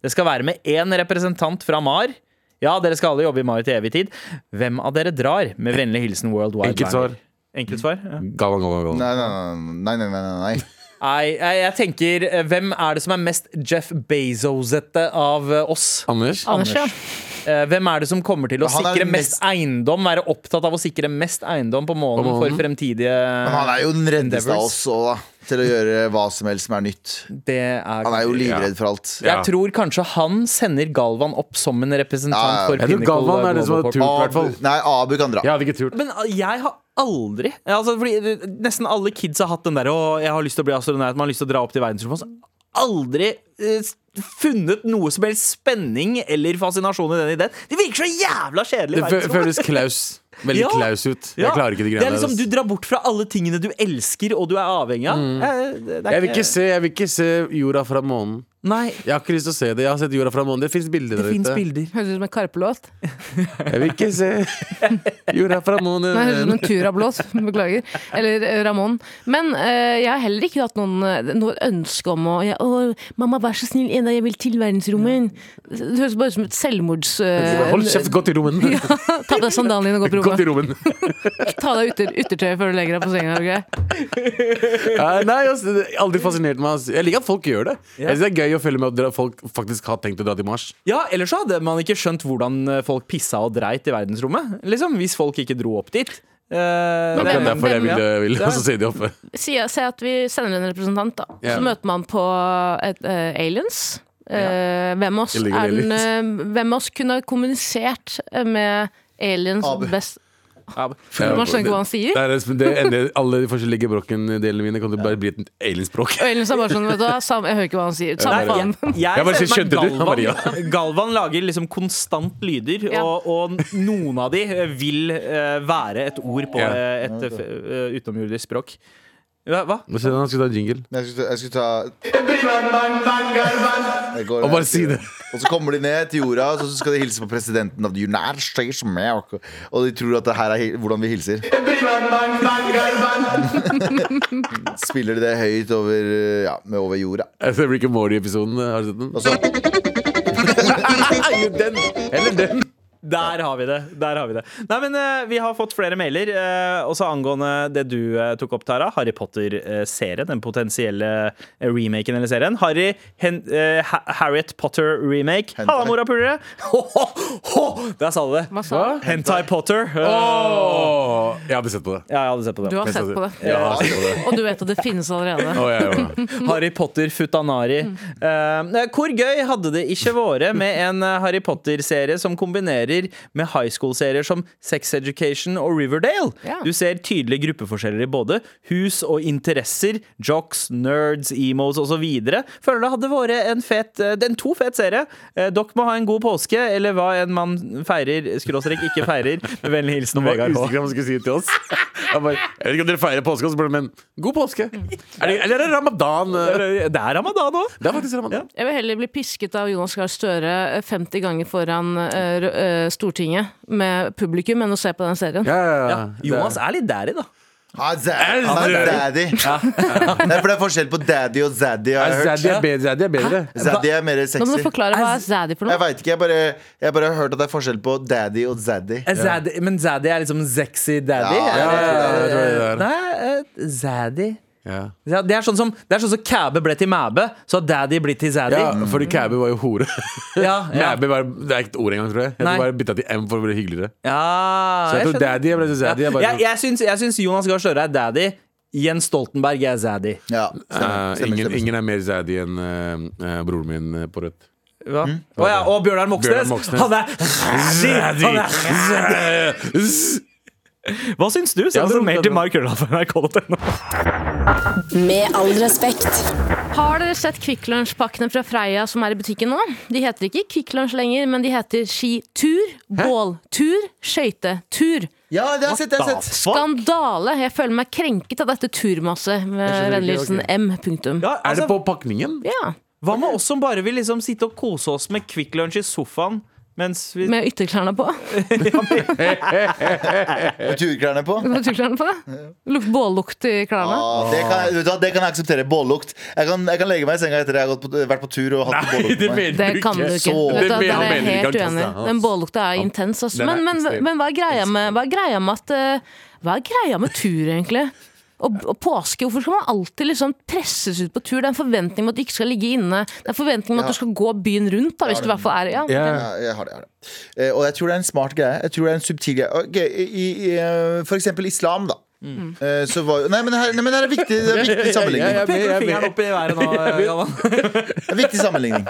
Speaker 3: Det skal være med én representant fra Mar. Ja, dere skal alle jobbe i Mar til evig tid. Hvem av dere drar? Med vennlig hilsen World Wide
Speaker 4: Enkelt svar.
Speaker 3: Enkelt svar? Ja.
Speaker 4: Galvan, galvan, galvan.
Speaker 2: Nei, nei, nei. nei, nei, nei, nei.
Speaker 3: Nei, jeg, jeg tenker eh, Hvem er det som er mest Jeff Bezos-ete av eh, oss?
Speaker 4: Anders?
Speaker 5: Anders, ja.
Speaker 3: Eh, Hvem er det som kommer til å
Speaker 2: Han er
Speaker 3: sikre
Speaker 2: den
Speaker 3: mest
Speaker 2: mest-
Speaker 3: eiendom? Være opptatt av å sikre mest eiendom på månen,
Speaker 4: På månen.
Speaker 3: for fremtidige
Speaker 2: Men han er jo den reddeste av
Speaker 3: Endeavors.
Speaker 2: oss også, da, til å gjøre hva som helst som er nytt.
Speaker 3: Det er,
Speaker 2: Han er jo livredd for alt.
Speaker 4: Ja.
Speaker 3: Jeg tror kanskje han sender Galvan opp som en representant
Speaker 2: Ja, ja.
Speaker 3: for
Speaker 4: Jeg tror
Speaker 3: Pinnacle
Speaker 4: Galvan er den som har
Speaker 3: Global Corp.
Speaker 4: tur. i hvert
Speaker 2: Abu,
Speaker 4: fall.
Speaker 2: nei, Abu kan dra.
Speaker 4: Jeg hadde ikke turt.
Speaker 3: Men eh, jeg har aldri altså, fordi eh, Nesten alle kids har hatt den der Å, jeg har lyst til å bli astronaut, man har lyst til å dra opp til verdensrommet. og så Aldri eh, funnet noe som helst spenning eller fascinasjon i den ideen. Det virker så jævla kjedelig.
Speaker 4: Det
Speaker 3: i
Speaker 4: fø-
Speaker 3: verdensrommet.
Speaker 4: føles klaus. Veldig
Speaker 3: Ja.
Speaker 4: klaus ut.
Speaker 3: Ja,
Speaker 4: Jeg klarer ikke de
Speaker 3: Det er
Speaker 4: greiene
Speaker 3: liksom, du
Speaker 4: der. ass.
Speaker 3: drar bort fra alle tingene du elsker og du er avhengig av. Eh, det- det er
Speaker 4: Mm. Jeg vil ikke se, jeg vil ikke se jorda fra månen.
Speaker 3: Nei,
Speaker 4: Jeg har ikke lyst til å se det. Jeg har sett jorda fra månen. Det fins bilder
Speaker 3: det
Speaker 4: der
Speaker 3: fins
Speaker 4: ute.
Speaker 3: bilder.
Speaker 5: Høres ut som en Karpe-låt.
Speaker 4: Jeg vil ikke se jorda fra månen.
Speaker 5: Nei, Høres ut som en Turab-låt. Beklager. Eller eh, Ramón. Men eh, jeg har heller ikke hatt noen, eh, noe ønske om å jeg, å, 'Mamma, vær så snill, en dag jeg vil til verdensrommet'. Det høres bare ut som et selvmords... eh,
Speaker 4: Hold kjeft, gå til rommet.
Speaker 5: Ta på deg sandalene dine og gå på
Speaker 4: Gå
Speaker 5: rommet.
Speaker 4: til rommet.
Speaker 5: Ta av deg ytter, yttertøyet før du legger deg på senga. Okay?
Speaker 4: Eh, nei, ass, det har aldri fascinert meg. ass. Jeg liker at folk gjør det. Jeg synes Det er gøy å følge med at dere- folk faktisk har tenkt å dra til Mars.
Speaker 3: Ja, Ellers så hadde man ikke skjønt hvordan eh, folk pissa og dreit i verdensrommet. Liksom, Hvis folk ikke dro opp dit. Eh,
Speaker 4: Det
Speaker 5: Men
Speaker 4: er
Speaker 5: hvem-
Speaker 4: derfor jeg
Speaker 5: hvem-
Speaker 4: ville, ville
Speaker 3: Ja.
Speaker 4: også se de oppe.
Speaker 5: Si, si at vi sender en representant, da.
Speaker 4: Ja.
Speaker 5: Så møter man på et, eh, aliens. Eh, hvem, av oss
Speaker 4: Jeg liker
Speaker 5: er den, eh, hvem av oss kunne ha kommunisert eh, med aliens
Speaker 2: Abu.
Speaker 5: best
Speaker 3: Ja,
Speaker 4: Ja,
Speaker 5: Man skjønner ikke hva han sier.
Speaker 4: Det er, det som- det ender, alle de forskjellige gebrokken-delene mine kan bare bli et alienspråk.
Speaker 5: Og aliens er bare sånn, vet du hva, sam- jeg hører ikke hva han sier. Samme
Speaker 4: Nei,
Speaker 5: faen.
Speaker 3: Jeg, jeg
Speaker 4: Jeg bare
Speaker 3: ser
Speaker 4: sier,
Speaker 3: meg
Speaker 4: skjønte du? Han bare, ja.
Speaker 3: Galvan, Galvan lager liksom konstant lyder,
Speaker 5: Ja.
Speaker 3: og, og noen av de eh, vil eh, være et ord på
Speaker 4: Ja.
Speaker 3: eh, et eh, f- eh, utenomjordisk språk. Hva? hva?
Speaker 4: Hva skjedde? Han skulle ta en jingle.
Speaker 2: Jeg skulle, jeg skulle ta Jeg går,
Speaker 4: Og bare si det.
Speaker 2: Og så kommer de ned til jorda, og så skal de hilse på presidenten av the United States of America. Og de tror at det her er hi- hvordan vi hilser. Spiller de det høyt over, eh, ja, med over jorda.
Speaker 4: Jeg ser Rick and Morty-episoden. Har du sett den?
Speaker 2: Og så,
Speaker 4: Eller den!
Speaker 3: Der har vi det. der har Vi det Nei, men eh, vi har fått flere mailer, eh, også angående det du eh, tok opp, Tara. Harry Potter-serien, den potensielle eh, remaken eller serien. Harry Hen eh, Ha- Harriet Potter-remake.
Speaker 2: Hentai.
Speaker 3: Halla, morapulere! Ho, ho, ho! Der sa du det.
Speaker 5: Hva sa du?
Speaker 3: Hentai Potter. Eh,
Speaker 4: Åh, jeg hadde sett på det.
Speaker 3: Ja, jeg hadde sett på det.
Speaker 5: Du har sett på det.
Speaker 4: Jeg har sett på det.
Speaker 5: Og du vet at det finnes allerede.
Speaker 4: Åh, jeg gjorde det.
Speaker 3: Harry Potter Futanari. Eh, hvor gøy hadde det ikke vært med en eh, Harry Potter-serie som kombinerer med high school-serier som Sex Education og Riverdale?
Speaker 5: Ja.
Speaker 3: Du ser tydelige gruppeforskjeller i både hus og interesser, jocks, nerds, emos osv. Føler det hadde vært en fet eh, Den to fet serie. Eh, Dere må ha en god påske, eller hva en mann feirer, skråstrek ikke feirer. Med vennlig hilsen
Speaker 4: Jeg
Speaker 3: Vegard
Speaker 4: var
Speaker 3: H.
Speaker 4: usikker på hva jeg skulle si til oss. Jeg, bare, jeg vet ikke om dere feirer påske, og så bare, men god påske. Er det, eller er det ramadan?
Speaker 3: Mm.
Speaker 4: eh?
Speaker 3: Det er ramadan òg.
Speaker 4: Det er faktisk ramadan.
Speaker 5: Jeg vil heller bli pisket av Jonas Gahr Støre 50 ganger foran eh, rø- eh, Stortinget med publikum enn å se på den serien.
Speaker 4: Ja, ja, ja.
Speaker 3: Jonas er litt der i, da.
Speaker 2: Ah, za- Han er daddy. Nei, for det er forskjell på daddy og zaddy. Har jeg hørt.
Speaker 4: Zaddy er bedre. Zaddy er bedre.
Speaker 2: Zaddy er mer
Speaker 5: Nå må du
Speaker 2: sexy.
Speaker 5: forklare hva er zaddy for
Speaker 2: Jeg
Speaker 5: noe.
Speaker 2: veit ikke. Jeg bare, jeg bare har hørt at det er forskjell på daddy og zaddy.
Speaker 3: Eh, Zaddy, men Zaddy er liksom sexy daddy?
Speaker 2: Ja,
Speaker 3: Er det-
Speaker 4: ja, ja, jeg tror det er det.
Speaker 3: Nei, eh, Zaddy
Speaker 4: Ja.
Speaker 3: ja, Det er sånn som Det er sånn som Kæbe ble til Mæbe, så har Daddy blitt til Zaddy.
Speaker 4: ja,
Speaker 3: Ja,
Speaker 4: fordi Kæbe var jo hore.
Speaker 3: ja, ja.
Speaker 4: Mæbe var, det er ikke et ord engang, tror jeg. Jeg
Speaker 3: Nei.
Speaker 4: tror bare bytta til M for å bli hyggeligere. Så
Speaker 3: jeg
Speaker 4: jeg tror
Speaker 3: skjønner.
Speaker 4: daddy er bedre enn zaddy.
Speaker 3: Ja,
Speaker 4: Jeg bare, sånn-
Speaker 3: jeg, jeg, syns, jeg syns Jonas Gahr Støre er daddy. Jens Stoltenberg er zaddy.
Speaker 2: Ja,
Speaker 4: Eh, ingen, ingen er mer zaddy enn eh, eh, broren min eh, på Rødt.
Speaker 3: Hva?
Speaker 4: Mm.
Speaker 3: Å ja, og Bjørnar Moxnes!
Speaker 4: Bjørnar Moxnes.
Speaker 3: Han er zaddy! Han er. Hva syns du? Send
Speaker 4: Ja,
Speaker 3: oss en
Speaker 4: så-
Speaker 3: mail til markrøllalfa.nrk.no.
Speaker 6: Med all respekt.
Speaker 5: Har dere sett Kvikk Lunsj-pakkene fra Freia som er i butikken nå? De heter ikke Kvikk Lunsj lenger, men de heter skitur, båltur, skøytetur.
Speaker 2: Ja, det har jeg sett. Det har jeg sett.
Speaker 5: Skandale! Jeg føler meg krenket av dette turmaset. Med
Speaker 4: skjønner ikke,
Speaker 5: vennlig hilsen M. Punktum.
Speaker 3: Ja,
Speaker 4: Er
Speaker 3: altså,
Speaker 4: det på pakningen?
Speaker 5: Ja.
Speaker 3: hva med oss som bare vil liksom sitte og kose oss med Kvikk Lunsj i sofaen mens vi
Speaker 5: Med ytterklærne på.
Speaker 2: Med turklærne på.
Speaker 5: Med ytterklærne på. Lukt bållukt i klærne.
Speaker 2: Ah, det, kan, jeg- vet du hva, det kan jeg akseptere. Bållukt. Jeg kan, jeg kan legge meg i senga etter jeg har gått på, vært på tur og hatt bållukt på meg.
Speaker 5: Det kan du ikke.
Speaker 2: Så-
Speaker 5: Vet du,
Speaker 4: Det mener-
Speaker 5: hva, der
Speaker 4: han
Speaker 5: er jeg
Speaker 4: mener ikke
Speaker 5: helt
Speaker 4: han
Speaker 5: uenig.
Speaker 4: kaster, han-
Speaker 5: Den bållukta er intens. Altså.
Speaker 4: Den er
Speaker 5: Men, men,
Speaker 4: ekstrem.
Speaker 5: men hva, er greia med, hva er greia med at eh, Hva er greia med tur, egentlig? Og, og påske, Hvorfor skal man alltid liksom presses ut på tur? Det er en forventning om at du ikke skal ligge inne. Det er en forventning om at du skal gå byen rundt. Da, hvis du i hvert fall er ja.
Speaker 2: Ja, jeg har det, jeg har det. Eh, og jeg tror det er en smart greie. Jeg tror det er en subtil greie Ok, i, i, eh, For eksempel islam, da. Eh, Så var jo Nei, men her, nei, men her er viktig, det er viktig sammenligning.
Speaker 4: Jeg er med,
Speaker 3: Peker du
Speaker 4: jeg er
Speaker 3: fingeren
Speaker 4: med.
Speaker 3: opp i været nå, Galvan?
Speaker 2: Det er en viktig sammenligning.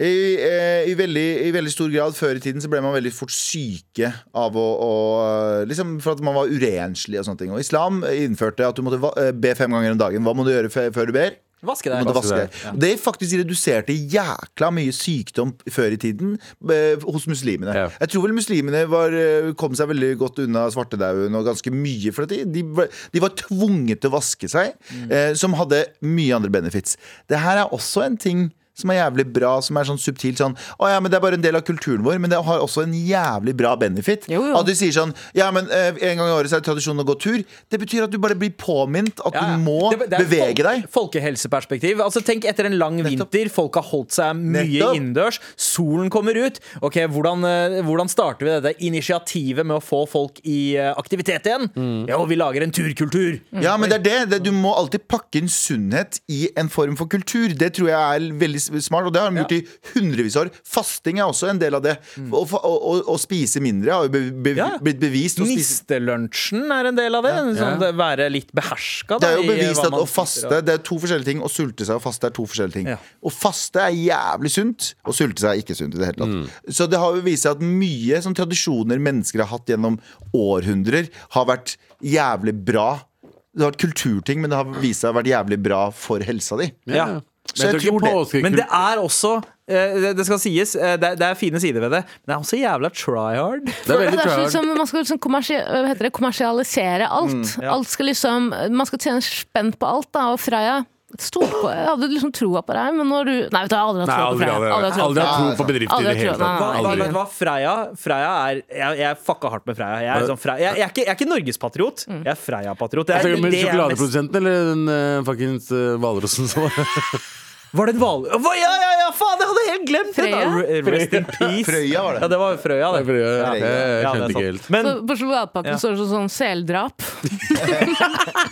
Speaker 2: I, eh, i, veldig, I veldig stor grad før i tiden så ble man veldig fort syke av å, å eh, Liksom for at man var urenslig og sånne ting. Og islam innførte at du måtte va- eh, be fem ganger om dagen. Hva må du gjøre fe- før du ber?
Speaker 3: Vaske
Speaker 2: Du
Speaker 3: deg.
Speaker 2: måtte vaske deg. Og Det faktisk reduserte jækla mye sykdom før i tiden eh, hos muslimene.
Speaker 4: Ja.
Speaker 2: Jeg tror vel muslimene var, eh, kom seg veldig godt unna svartedauden og ganske mye. For at de, de, ble- de var tvunget til å vaske seg,
Speaker 3: Mm.
Speaker 2: eh, som hadde mye andre benefits. Det her er også en ting som er jævlig bra, som er sånn subtilt sånn Å ja, men det er bare en del av kulturen vår, men det har også en jævlig bra benefit.
Speaker 5: Jo, jo.
Speaker 2: At de sier sånn Ja, men eh, en gang i året så er det tradisjonen å gå tur. Det betyr at du bare blir påminnet at
Speaker 3: Ja, ja.
Speaker 2: du må
Speaker 3: Det- det er
Speaker 2: bevege
Speaker 3: fol-
Speaker 2: deg.
Speaker 3: Folkehelseperspektiv. Altså Tenk etter en lang vinter, folk har holdt seg mye
Speaker 2: Nettopp.
Speaker 3: innendørs. Solen kommer ut. Ok, hvordan, eh, hvordan starter vi dette initiativet med å få folk i eh, aktivitet igjen?
Speaker 2: Mm.
Speaker 3: Jo, vi lager en turkultur!
Speaker 2: Ja, men det er det. det. Du
Speaker 3: Mm.
Speaker 2: må alltid pakke inn sunnhet i en form for kultur. Det tror jeg er veldig s- smart, og det har de gjort i hundrevis av år. Fasting er også en del av det. Å fa- å- å- å spise mindre har jo be be
Speaker 3: Mm. Ja.
Speaker 2: blitt bevist. Å spise
Speaker 3: Nistelunsjen er en del av det. Sånn, det være litt beherska.
Speaker 2: det er jo bevist at å faste Det er to forskjellige ting. Å sulte seg og faste er to forskjellige ting.
Speaker 3: Ja.
Speaker 2: Å faste er jævlig sunt. Å sulte seg er ikke sunt i det hele tatt.
Speaker 4: Mm.
Speaker 2: Så det har jo vist seg at mye sånn tradisjoner mennesker har hatt gjennom århundrer, har vært jævlig bra. Det har vært kulturting, men det har vist seg å ha vært jævlig bra for helsa di.
Speaker 3: Ja.
Speaker 4: Men jeg
Speaker 2: jeg
Speaker 4: tror
Speaker 2: tror
Speaker 4: ikke
Speaker 2: det.
Speaker 4: påske
Speaker 3: Men det er også eh, det- Det skal sies, eh, det er, det er fine sider ved det, men det er også jævla try hard.
Speaker 4: Det er
Speaker 5: Det
Speaker 4: veldig
Speaker 5: er sånn
Speaker 4: proud.
Speaker 5: som man skal liksom kommersi hva heter det, kommersialisere alt.
Speaker 4: Mm,
Speaker 5: alt skal liksom, man skal tjene spenn på alt. Da, og Freya stol på, Jeg hadde liksom troa på deg, men når du Nei, vet du, jeg har aldri hatt
Speaker 4: Nei,
Speaker 5: troa på
Speaker 4: aldri
Speaker 5: Freya.
Speaker 4: hadde
Speaker 5: Aldri hatt troa på
Speaker 4: aldri hatt tro på bedrifter i
Speaker 5: Aldri
Speaker 4: det hele
Speaker 5: hatt tro-
Speaker 4: tatt.
Speaker 5: nei,
Speaker 3: Hva, hva,
Speaker 4: Aldri.
Speaker 3: hva, hva Freia, Freia er jeg, jeg fucka hardt med Freia. Jeg er, sånn Freia, jeg, jeg er ikke, jeg er ikke Norgespatriot. Jeg er Freia-patriot. Det er-
Speaker 4: Snakker du med
Speaker 3: det er mest-
Speaker 4: sjokoladeprodusenten eller den uh, fuckings eh, hvalrossen eh, som var
Speaker 3: Var det en hval... Hva- Ja, ja, ja! faen, jeg hadde helt glemt det! da. Rest in peace.
Speaker 2: Frøya var det.
Speaker 3: Ja, det var Frøya, det.
Speaker 4: Fordi jeg, jeg, jeg
Speaker 3: Ja, det er
Speaker 4: skjønte
Speaker 3: sant.
Speaker 4: ikke helt.
Speaker 3: Men
Speaker 5: Så På sjokoladepappen
Speaker 3: Ja.
Speaker 5: står det sånn seldrap.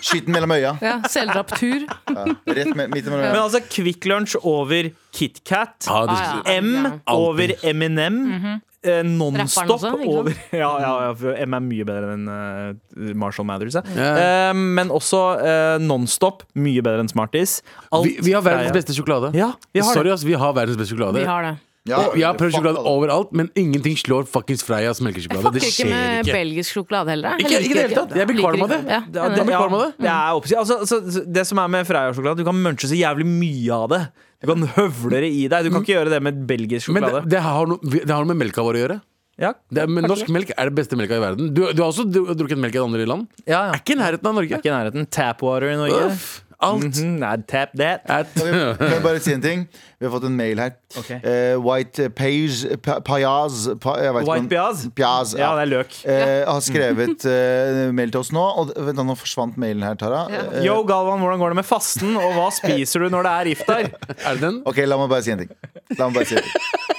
Speaker 2: Skyt den mellom øya.
Speaker 5: Ja, Seldraptur.
Speaker 2: Ja. Rett med, midt mellom
Speaker 3: Men
Speaker 2: øya.
Speaker 3: altså Kvikk Lunsj over KitKat.
Speaker 4: Ja, det,
Speaker 5: Ah, ja.
Speaker 3: M over Eminem. eh,
Speaker 5: Mhm. Rapperen
Speaker 3: Nonstop
Speaker 5: også, ikke sant?
Speaker 3: over ja, ja, ja, for M er mye bedre enn eh, Marshall Mathers. ja.
Speaker 4: Ja.
Speaker 3: Eh, men også eh, Nonstop, mye bedre enn Smarties. Alt
Speaker 4: Vi, vi har verdens
Speaker 3: greia.
Speaker 4: beste sjokolade.
Speaker 3: Ja, vi har
Speaker 4: Sorry,
Speaker 3: det.
Speaker 4: ass, vi har verdens beste sjokolade.
Speaker 5: Vi har det.
Speaker 2: Ja,
Speaker 4: Og jeg har prøvd
Speaker 2: fuck
Speaker 4: sjokolade
Speaker 2: alle.
Speaker 4: overalt, men ingenting slår fuckings Freias
Speaker 5: Jeg
Speaker 4: melkesjokolade.
Speaker 5: fucker
Speaker 4: Det
Speaker 5: ikke
Speaker 4: skjer
Speaker 5: med
Speaker 4: ikke.
Speaker 5: belgisk sjokolade heller. Jeg
Speaker 4: Ikke-
Speaker 5: liker
Speaker 4: ikke i det hele tatt. Jeg blir
Speaker 5: liker
Speaker 4: kvalm av det.
Speaker 5: ikke- Ja,
Speaker 3: Ja,
Speaker 5: enig.
Speaker 3: ja,
Speaker 4: kvalm av det?
Speaker 3: det er oppsi- altså, så, så, det som er med Freia-sjokolade, du kan munche så jævlig mye av det. Du kan høvle det i deg. Du kan ikke gjøre det med belgisk
Speaker 4: Mm. Men det,
Speaker 3: sjokolade.
Speaker 4: det, har noe, vi- det har noe med melka vår å gjøre.
Speaker 3: Ja,
Speaker 4: Det er, men norsk melk er det beste melka i verden. Du, du har også dru- drukket melk i andre land.
Speaker 3: ja, ja.
Speaker 4: Er ikke i nærheten av Norge.
Speaker 3: Ikke i nærheten. Tapwater i Norge.
Speaker 4: Uff, alt
Speaker 3: Mhm, Nei, tap that.
Speaker 4: at,
Speaker 2: Kan vi- kan jeg bare si en ting? Vi har fått en mail her.
Speaker 3: Ok.
Speaker 2: Eh, White Page pa, Payaz pa, jeg vet ikke
Speaker 3: White
Speaker 2: om-
Speaker 3: Piaz.
Speaker 2: Piaz,
Speaker 3: Ja,
Speaker 2: ja.
Speaker 3: det er løk.
Speaker 2: Eh, har skrevet eh, mail til oss nå. Og vent, da, nå forsvant mailen her, Tara. Eh,
Speaker 3: Yo, Galvan, hvordan går det med fasten, og hva spiser du når det er iftar?
Speaker 4: er det den?
Speaker 2: Ok, la meg bare si en ting. La meg bare si en ting.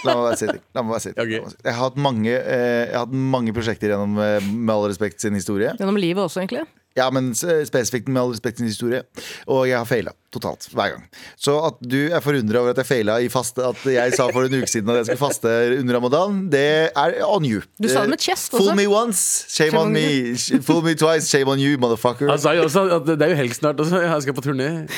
Speaker 2: La meg bare si en ting. La meg bare si en ting.
Speaker 4: Ok.
Speaker 2: La meg si- Jeg, har hatt mange, eh, jeg har hatt mange prosjekter gjennom eh, Med all respekt sin historie.
Speaker 5: Gjennom livet også, egentlig.
Speaker 2: Ja, men s- eh, spesifikt Med all respekt sin historie. Og jeg har faila totalt hver gang. Så at du er forundra over at jeg faila i faste At jeg sa for en uke siden at jeg skulle faste under ramadan, det er on you.
Speaker 5: Du sa
Speaker 2: Eh,
Speaker 5: det med chest
Speaker 2: Fool
Speaker 5: også.
Speaker 2: me once, shame, on me. Fool me twice, shame on you, motherfucker.
Speaker 4: Han sa jo også at det er jo helg snart. Også. Jeg skal på turné.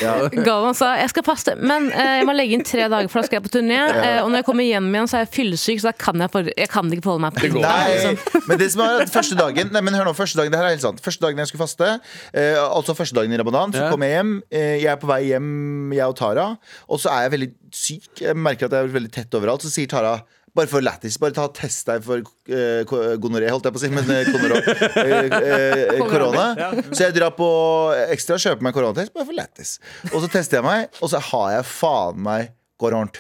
Speaker 5: Galvan sa jeg skal faste, men eh, jeg må legge inn tre dager, for da skal jeg på turné. Eh, og når jeg kommer hjem igjen, så er jeg fyllesyk, så da kan jeg, for, jeg kan ikke forholde meg på det.
Speaker 2: Nei, men det som er at første dagen Nei, men hør nå, første dagen, det her er helt sant Første dagen jeg skulle faste eh, Altså første dagen i Ramadan Så
Speaker 4: Ja.
Speaker 2: kom jeg hjem eh, Jeg er på vei hjem, jeg og Tara Og så er jeg veldig syk Jeg merker at jeg er veldig tett overalt Så sier Tara bare for lættis, bare ta og test deg for eh, ko- gonoré, holdt jeg på å si, men eh, konoro- eh, eh, korona. Så jeg drar på ekstra, kjøper meg koronatest, bare for lættis. Og så tester jeg meg, og så har jeg faen meg koronert.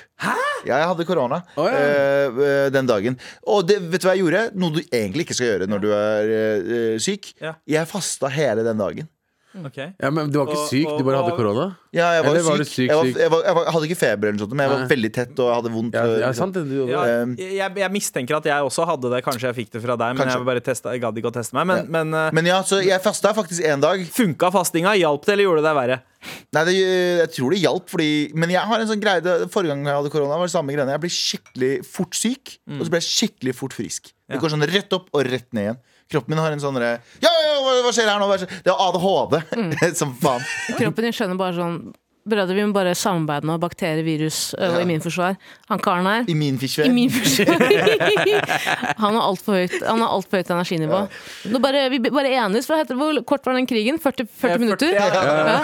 Speaker 2: Ja, jeg hadde korona
Speaker 4: Å, ja.
Speaker 2: eh, eh, den dagen. Og det, vet du hva jeg gjorde? Noe du egentlig ikke skal gjøre når du er eh, eh, syk.
Speaker 3: Ja.
Speaker 2: Jeg fasta hele den dagen.
Speaker 4: Ja, men du var ikke
Speaker 3: Og-
Speaker 4: syk, du bare
Speaker 3: og-
Speaker 4: hadde korona.
Speaker 2: Ja, jeg var,
Speaker 4: Eller var
Speaker 2: syk.
Speaker 4: du syk,
Speaker 2: jeg, var,
Speaker 4: syk?
Speaker 2: jeg, var, jeg, var, jeg hadde ikke feber, eller noe sånt, men jeg var
Speaker 4: Nei.
Speaker 2: veldig tett og jeg hadde vondt.
Speaker 4: Ja,
Speaker 2: eh,
Speaker 4: ja sant det. Du,
Speaker 3: Ja,
Speaker 2: Um,
Speaker 3: jeg, jeg mistenker at jeg også hadde det. Kanskje jeg fikk det fra deg, men
Speaker 2: Kanskje.
Speaker 3: jeg bare testa, jeg gadd ikke å teste meg. Men,
Speaker 2: Ja.
Speaker 3: men eh,
Speaker 2: Men ja, så jeg fasta faktisk én dag.
Speaker 3: funka fastinga? Hjalp det, eller gjorde det deg verre?
Speaker 2: Nei, det, eh, jeg tror det hjalp, fordi Men jeg har en sånn greie det- Forrige gang jeg hadde korona, var det samme greiene. Jeg ble skikkelig fort syk,
Speaker 4: Mm.
Speaker 2: og så ble jeg skikkelig fort frisk. Det
Speaker 3: Ja.
Speaker 2: går sånn rett opp og rett ned igjen. Kroppen min har en sånn derre ja, ja, ja, hva- hva skjer her nå? Hva skjer? Det er ADHD
Speaker 4: Mm.
Speaker 2: som faen.
Speaker 5: Kroppen din skjønner bare sånn Brødre, vi må bare samarbeide nå. Bakterie, virus eh, og
Speaker 2: Ja.
Speaker 5: immunforsvar. Han karen her
Speaker 2: Immunforsvar.
Speaker 5: Immunforsvar. Han har altfor høyt, han har alt for høyt energinivå. Nå bare, vi bare enes, for hva heter det? Hvor kort var den krigen? 40, 40 minutter?
Speaker 3: ja,
Speaker 5: Ja.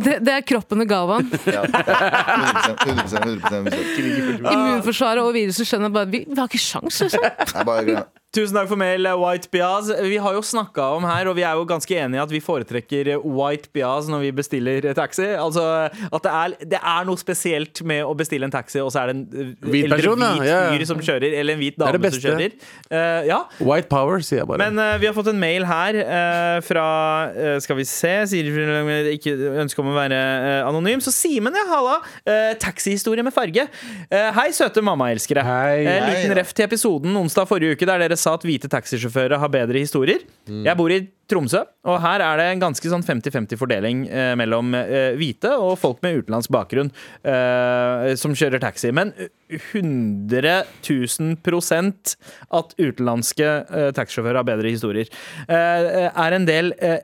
Speaker 5: Det, det er kroppen det ga han.
Speaker 2: 100%, 100%, 100%.
Speaker 5: Immunforsvaret og viruset skjønner bare Vi, vi har ikke sjans, liksom.
Speaker 2: Jeg bare glemmer.
Speaker 3: Tusen takk for mail, eh, White Piaz. Vi har jo snakka om her, og vi er jo ganske enige i at vi foretrekker eh, White Piaz når vi bestiller taxi. Altså at det er, det er noe spesielt med å bestille en taxi, og så er det en eh,
Speaker 4: Hvit
Speaker 3: eller
Speaker 4: person, ja.
Speaker 3: hvit
Speaker 4: Ja, ja.
Speaker 3: fyr som kjører, eller en hvit
Speaker 4: er det
Speaker 3: dame som
Speaker 4: beste.
Speaker 3: kjører. Eh, ja.
Speaker 4: White power, sier jeg bare.
Speaker 3: Men eh, vi har fått en mail her eh, fra eh, Skal vi se sier, eh, Ikke ønske om å være eh, anonym. Så Simen, ja, halla! Eh, taxihistorie med farge. Eh, hei, søte mammaelskere.
Speaker 4: Hei.
Speaker 3: Eh,
Speaker 2: Hei,
Speaker 3: liten
Speaker 2: da.
Speaker 3: ref til episoden onsdag forrige uke der dere sa at hvite taxisjåfører har bedre historier. Jeg bor i Tromsø, og her er det en ganske sånn 50-50-fordeling eh, mellom eh, hvite og folk med utenlandsk bakgrunn eh, som kjører taxi. Men 100 000 prosent at utenlandske eh, taxisjåfører har bedre historier. Eh, er en del eh,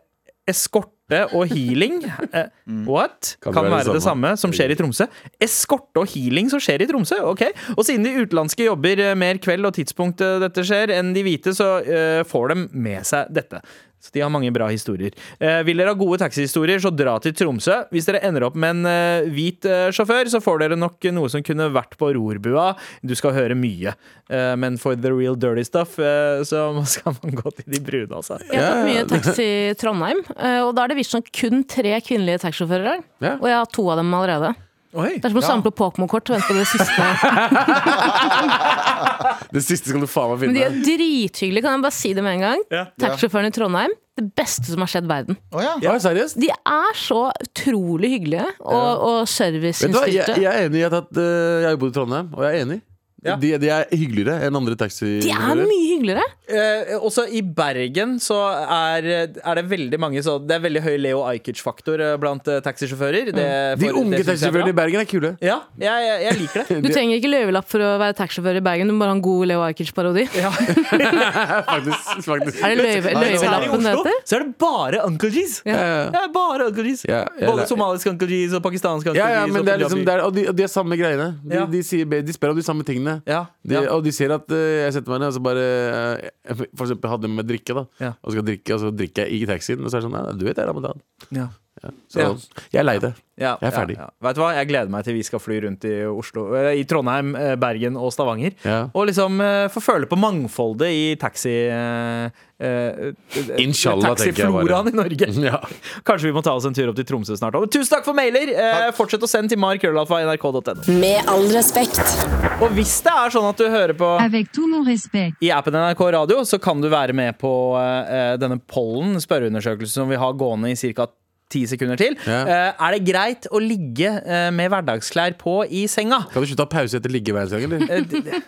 Speaker 3: eskorte og healing eh, What? Kan, være, det samme som skjer i Tromsø. Eskorte og healing som skjer i Tromsø, ok. Og siden de utenlandske jobber eh, mer kveld og tidspunkt eh, dette skjer, enn de hvite, så eh, får de med seg dette. Så de har mange bra historier. Eh, vil dere ha gode taxihistorier, så dra til Tromsø. Hvis dere ender opp med en eh, hvit eh, sjåfør, så får dere nok noe som kunne vært på rorbua. Du skal høre mye. Eh, men for the real dirty stuff, eh, så skal man gå til de brune, altså.
Speaker 5: Jeg har tatt mye taxi i Trondheim, eh, og da er det visstnok kun tre kvinnelige taxisjåfører der.
Speaker 4: Ja.
Speaker 5: Og jeg har to av dem allerede.
Speaker 4: Oi.
Speaker 5: Det er som å samle på Pokémon-kort og vente på det siste.
Speaker 4: Det siste skal du faen meg
Speaker 5: Men de
Speaker 4: finne.
Speaker 5: er drithyggelige, kan jeg bare si det med en gang.
Speaker 4: Ja.
Speaker 5: Taxisjåføren i Trondheim, det beste som har skjedd verden.
Speaker 2: Å ja.
Speaker 4: Ja, seriøst?
Speaker 5: De er så utrolig hyggelige, og, og
Speaker 4: Vet du hva, jeg,
Speaker 5: serviceinnstilte.
Speaker 4: jeg er enig i at at, eh, jeg har bodd i Trondheim, og jeg er enig.
Speaker 3: Ja.
Speaker 4: De, de er hyggeligere enn andre
Speaker 5: De er
Speaker 4: taxisjåfører.
Speaker 5: mye hyggeligere!
Speaker 3: Eh, også i Bergen så er, er det veldig mange så Det er veldig høy Leo Ajkic-faktor eh, blant eh, taxisjåfører. Det-
Speaker 4: Mm. De
Speaker 3: for-
Speaker 4: unge
Speaker 3: det synes jeg er
Speaker 4: taxisjåførene i
Speaker 3: bra.
Speaker 4: Bergen er kule.
Speaker 3: Ja, jeg, jeg, jeg liker det.
Speaker 5: Du trenger ikke løyvelapp for å være taxisjåfør i Bergen, du må bare ha en god Leo Ajkic-parodi.
Speaker 4: Faktisk, faktisk.
Speaker 5: Er det
Speaker 2: Nei, det
Speaker 5: løyve,
Speaker 2: er
Speaker 3: Her i
Speaker 5: løyvelappen det
Speaker 3: Oslo
Speaker 5: heter?
Speaker 3: så er det bare Uncle G's.
Speaker 5: Ja.
Speaker 3: Det er bare Uncle G's.
Speaker 4: Ja, jeg-
Speaker 3: Både somalisk Uncle G's og pakistansk Uncle
Speaker 4: Ja, ja,
Speaker 3: G's
Speaker 4: men
Speaker 3: og
Speaker 4: det er liksom,
Speaker 3: punjabi.
Speaker 4: det er, og, de, og de er samme greiene. De,
Speaker 3: Ja.
Speaker 4: de, sier, be- de spør om de samme tingene.
Speaker 3: Ja,
Speaker 4: De,
Speaker 3: ja.
Speaker 4: Og de ser at eh, jeg setter meg ned og så bare eh, jeg For eksempel hadde med drikke, da.
Speaker 3: Ja.
Speaker 4: Og, skal drikke, og så drikker jeg i taxien, og så er det sånn Nei, du vet jeg er ramadan.
Speaker 3: Ja.
Speaker 4: Så
Speaker 3: Ja.
Speaker 4: jeg er lei det.
Speaker 3: Ja,
Speaker 4: Jeg er ferdig.
Speaker 3: Ja, ja. Vet du hva? Jeg gleder meg til vi skal fly rundt i Oslo eh, I Trondheim, eh, Bergen og Stavanger.
Speaker 4: Ja.
Speaker 3: Og liksom eh, få føle på mangfoldet i taxi... eh, eh,
Speaker 4: Inshallah, tenker jeg bare.
Speaker 3: Taxifloraen i Norge.
Speaker 4: Ja.
Speaker 3: Kanskje vi må ta oss en tur opp til Tromsø snart. Og tusen takk for mailer! Eh, fortsett å sende til markrøllalfa.nrk.no.
Speaker 6: Med all respekt.
Speaker 3: Og hvis det er sånn at du hører på
Speaker 9: Avec tout mon respect.
Speaker 3: i appen NRK Radio, så kan du være med på eh, denne pollen spørreundersøkelsen som vi har gående i ca. ti sekunder til.
Speaker 4: Ja.
Speaker 3: Eh, er det greit å ligge eh, med hverdagsklær på i senga?
Speaker 4: Kan du slutte å ha pause etter liggeveien, eller?
Speaker 3: Eh, det,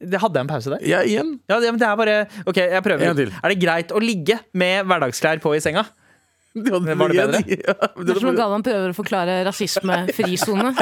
Speaker 3: det hadde jeg en pause der.
Speaker 4: Ja, igjen.
Speaker 3: Ja, det, men det er bare OK, jeg prøver.
Speaker 4: En gang til.
Speaker 3: Er det greit å ligge med hverdagsklær på i senga?
Speaker 4: Var
Speaker 3: Men var det bedre?
Speaker 4: Ja,
Speaker 5: Det er som
Speaker 4: var-
Speaker 5: om Galvan prøver å forklare rasisme-frisone.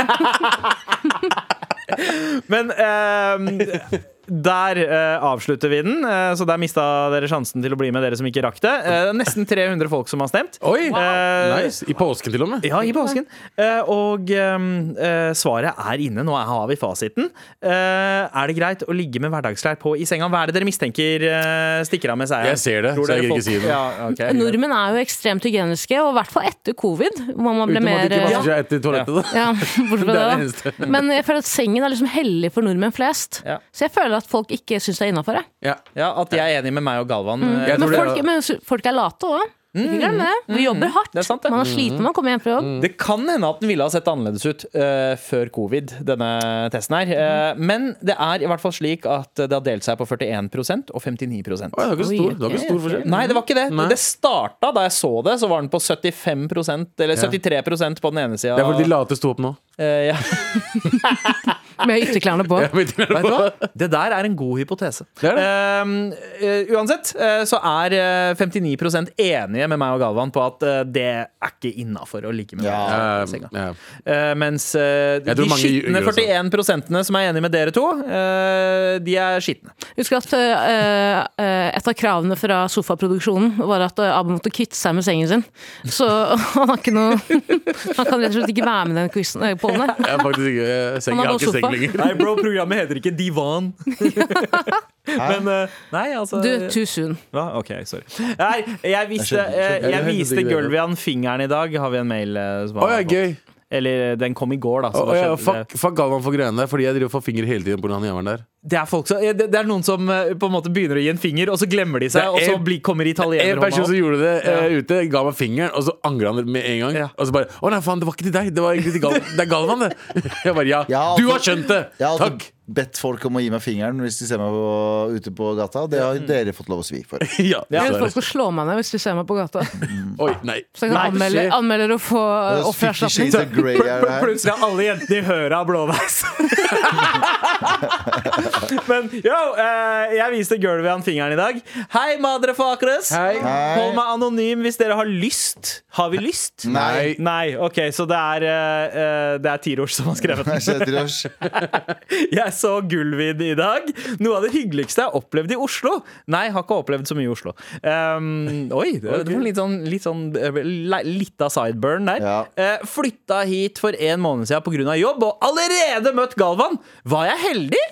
Speaker 3: Men eh, der eh, avslutter vi den, eh, så der mista dere sjansen til å bli med, dere som ikke rakk det. Eh, nesten 300 folk som har stemt.
Speaker 4: Oi!
Speaker 3: Eh,
Speaker 4: Nice. I påsken, til og med.
Speaker 3: Ja, i påsken. Eh, og ehm, eh, svaret er inne. Nå har vi fasiten. Eh, er det greit å ligge med hverdagsklær på i senga? Hva er det dere mistenker eh, stikker av med seg?
Speaker 4: Jeg ser det,
Speaker 3: Tror
Speaker 4: så
Speaker 3: dere
Speaker 4: jeg gidder
Speaker 3: folk-
Speaker 4: ikke si det.
Speaker 3: Ja, ok.
Speaker 5: Nordmenn er jo ekstremt hygieniske, og i hvert fall etter covid. Hvor man ble
Speaker 4: Utenom at
Speaker 5: mer eh,
Speaker 4: de ikke
Speaker 5: ja,
Speaker 4: vasker seg etter toalettet, da.
Speaker 5: ja, bortsett fra
Speaker 4: Det er det
Speaker 5: det, da. Men jeg føler at sengen er liksom hellig for nordmenn flest.
Speaker 3: Ja.
Speaker 5: Så jeg føler at folk ikke syns det er innafor.
Speaker 4: Ja.
Speaker 3: ja, At de er enige med meg og Galvan. eh,
Speaker 4: Jeg
Speaker 5: Men,
Speaker 4: tror det er-
Speaker 5: folk, men su- folk er late òg. Ikke glem det. Vi jobber hardt.
Speaker 3: Det er sant, det.
Speaker 5: Man er sliten når man kommer hjem fra jobb.
Speaker 3: Eh, Det kan hende at den ville ha sett annerledes ut eh, før covid, denne testen her. Eh,
Speaker 4: Mm.
Speaker 3: men det er i hvert fall slik at det har delt seg på 41 og 59
Speaker 4: Oi, det var ikke
Speaker 5: Oi,
Speaker 4: stor, det var ikke stor forskjell.
Speaker 3: Nei, det var ikke det.
Speaker 4: Nei.
Speaker 3: Det starta da jeg så det, så var den på 75 eller 73 på den ene sida.
Speaker 4: Det er fordi de late sto opp nå.
Speaker 3: Eh, ja.
Speaker 5: Med ytterklærne på.
Speaker 3: Vet du hva? Det der er en god hypotese.
Speaker 4: Det er det.
Speaker 3: Eh, eh, uansett eh, så er eh, 59 enige med meg og Galvan på at eh, det er ikke innafor å ligge med
Speaker 2: Ja.
Speaker 3: meg i
Speaker 4: Eh,
Speaker 3: senga.
Speaker 4: ja.
Speaker 3: Eh, mens eh,
Speaker 4: Jeg
Speaker 3: de
Speaker 4: tror mange
Speaker 3: skitne
Speaker 4: gjør det
Speaker 3: 41 prosentene som er enige med dere to, eh, de er skitne.
Speaker 5: Husk at øh, øh, et av kravene fra sofaproduksjonen var at øh, Abu måtte kvitte seg med sengen sin. Så han har ikke noe Han kan rett og slett ikke være med i den quizen øh, på den der.
Speaker 4: Jeg er faktisk ikke jeg- seng, Jeg har
Speaker 5: Han har bare
Speaker 4: ikke seng
Speaker 5: sofa.
Speaker 4: lenger.
Speaker 3: Nei, bro, programmet heter ikke Divan. Men Nei, altså
Speaker 5: Du, too soon.
Speaker 3: Hva? Ok, sorry. Nei, jeg viste,
Speaker 2: skjønner, skjønner.
Speaker 3: eh, jeg
Speaker 4: Jeg
Speaker 3: viste
Speaker 4: skjønner ikke det.
Speaker 3: Gulvian fingeren i dag, har vi en mail eh, som
Speaker 4: Å
Speaker 3: har
Speaker 4: ja,
Speaker 3: fått.
Speaker 4: gøy.
Speaker 3: Eller eh, den kom i går, da. så
Speaker 4: Å,
Speaker 3: det
Speaker 4: ja,
Speaker 3: skjedde-
Speaker 4: fuck, fuck Galvan for greiene der, fordi jeg driver og får finger hele tiden pga. han jævelen der.
Speaker 3: Det, er folk som, eh, det, det er noen som eh, på en måte begynner å gi en finger, og så glemmer de seg,
Speaker 4: Det er
Speaker 3: og så
Speaker 4: en-
Speaker 3: blir, kommer
Speaker 4: En person
Speaker 3: italienerhånda
Speaker 4: som
Speaker 3: opp.
Speaker 4: gjorde det eh, ute, ga meg fingeren, og så angra han med en gang.
Speaker 3: Ja.
Speaker 4: Og så bare 'Å nei, faen, det var ikke til deg. Det var egentlig til Galvan. Det er Galvan, det'. Jeg bare 'Ja,
Speaker 2: Ja,
Speaker 4: du
Speaker 2: altså-
Speaker 4: har skjønt det'.
Speaker 2: Jeg har
Speaker 4: Takk.
Speaker 2: alltid bedt folk om å gi meg fingeren hvis de ser meg på, ute på gata. Det har
Speaker 4: Mm.
Speaker 2: dere fått lov å svi for.
Speaker 5: Eh,
Speaker 4: Ja,
Speaker 5: Jeg vil
Speaker 4: dessverre.
Speaker 5: folk skal slå meg ned hvis de ser meg på gata.
Speaker 4: Oi, nei.
Speaker 5: Så jeg
Speaker 4: Nei,
Speaker 5: kan anmelde,
Speaker 4: shit.
Speaker 5: anmelde det og få
Speaker 2: Fifty
Speaker 5: øh, offererstatning.
Speaker 2: Shades of Grey er
Speaker 3: Pl-
Speaker 2: det her.
Speaker 3: Plutselig er alle jentene i høra blåveis. Men yo, eh, jeg viste Gulvian fingeren i dag. Hei, motherfuckers!
Speaker 4: Hei.
Speaker 2: Hei.
Speaker 3: Hold meg anonym hvis dere har lyst. Har vi lyst?
Speaker 2: Nei.
Speaker 3: Nei, ok, så det er, eh, eh, det er Tirosh som har skrevet
Speaker 2: Jeg
Speaker 3: den.
Speaker 2: ser til oss.
Speaker 3: Jeg så Gullvid i dag. Noe av det hyggeligste jeg har opplevd i Oslo. Nei, har ikke opplevd så mye i Oslo. Um, oi, det det var litt sånn, litt sånn eh, le- Litt av sideburn der.
Speaker 2: Ja.
Speaker 3: Eh, flytta hit for en måned siden pga. jobb, og allerede møtt Galvan! Var jeg heldig?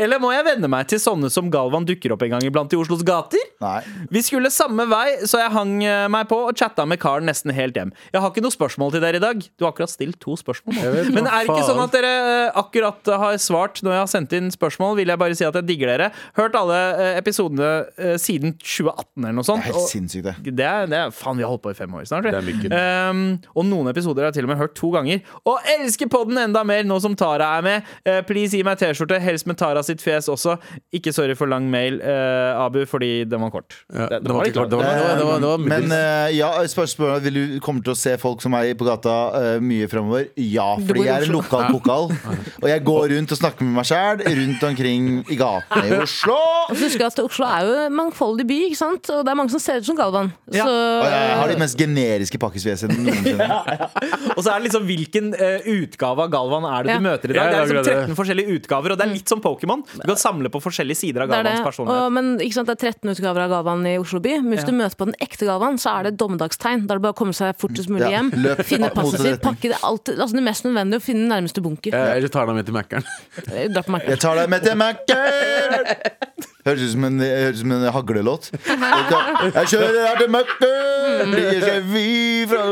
Speaker 3: Eller må jeg venne meg til sånne som Galvan dukker opp en gang iblant i Oslos gater?
Speaker 2: Nei.
Speaker 3: Vi skulle samme vei, så jeg hang eh, meg på og chatta med karen nesten helt hjem. Jeg har ikke noe spørsmål til dere i dag. Du har akkurat stilt to spørsmål. nå.
Speaker 4: vet,
Speaker 3: Men
Speaker 4: hva
Speaker 3: er det ikke
Speaker 4: faen?
Speaker 3: sånn at dere eh, akkurat har svart når jeg har sendt inn spørsmål? Vil jeg bare si at jeg digger dere. Hørt alle eh, episodene eh, siden 2018 eller noe sånt.
Speaker 2: Helt
Speaker 3: og-
Speaker 2: sinnssykt, det.
Speaker 3: det er, det er, faen, vi har holdt på i fem år snart. vi.
Speaker 4: Det er mye gøy.
Speaker 3: Ehm, og noen episoder har jeg til og med hørt to ganger. Og elsker podden enda mer nå som Tara er med. Eh, please gi meg T-skjorte, helst med Tara sitt fjes også. Ikke sorry for lang mail, eh, Abu, fordi den var kort.
Speaker 4: Ja,
Speaker 3: Den- den
Speaker 4: det var
Speaker 3: litt
Speaker 4: ikke klart. Det var, det var, det var, det var middels.
Speaker 2: Men eh, ja, spørsmålet er, vil du komme til å se folk som er på gata eh, mye fremover? Ja, fordi jeg er en lokal
Speaker 5: sånn.
Speaker 2: pokal. Og jeg går rundt og snakker med meg sjæl rundt omkring i gatene i Oslo.
Speaker 5: Og så husker jeg at Oslo er jo en mangfoldig by, ikke sant? og det er mange som ser ut som Galvan.
Speaker 3: Ja.
Speaker 5: Så
Speaker 2: Og jeg har de mest generiske pakkesfjesene noensinne.
Speaker 3: Og så er det liksom hvilken eh, utgave av Galvan er det du
Speaker 5: Ja. Mm.
Speaker 3: møter i
Speaker 4: Ja,
Speaker 3: dag? Det er
Speaker 4: det er
Speaker 3: liksom
Speaker 4: akkurat det.
Speaker 3: 13 forskjellige utgaver, og det er litt som Pokémon. Du kan samle på forskjellige sider av
Speaker 5: det er det.
Speaker 3: Galvans personlighet.
Speaker 5: Og, men ikke sant, det er 13 utgaver av Galvan i Oslo by. Men hvis du møter på den ekte Galvan, så er det dommedagstegn. Da er det bare å komme seg fortest mulig
Speaker 2: Ja,
Speaker 5: hjem,
Speaker 2: løp
Speaker 5: finne
Speaker 2: opp mot
Speaker 5: passet sitt,
Speaker 2: toaletten.
Speaker 5: pakke det alt altså det mest nødvendige, og finne den nærmeste bunker.
Speaker 4: Eh, Ellers tar han med til Mækkern.
Speaker 5: Eh, Dra på markedet.
Speaker 2: Jeg tar deg med til Mækkern! Høres ut som en, høres ut som en haglelåt. Jeg kjører her til Mækkern, gir seg vi fra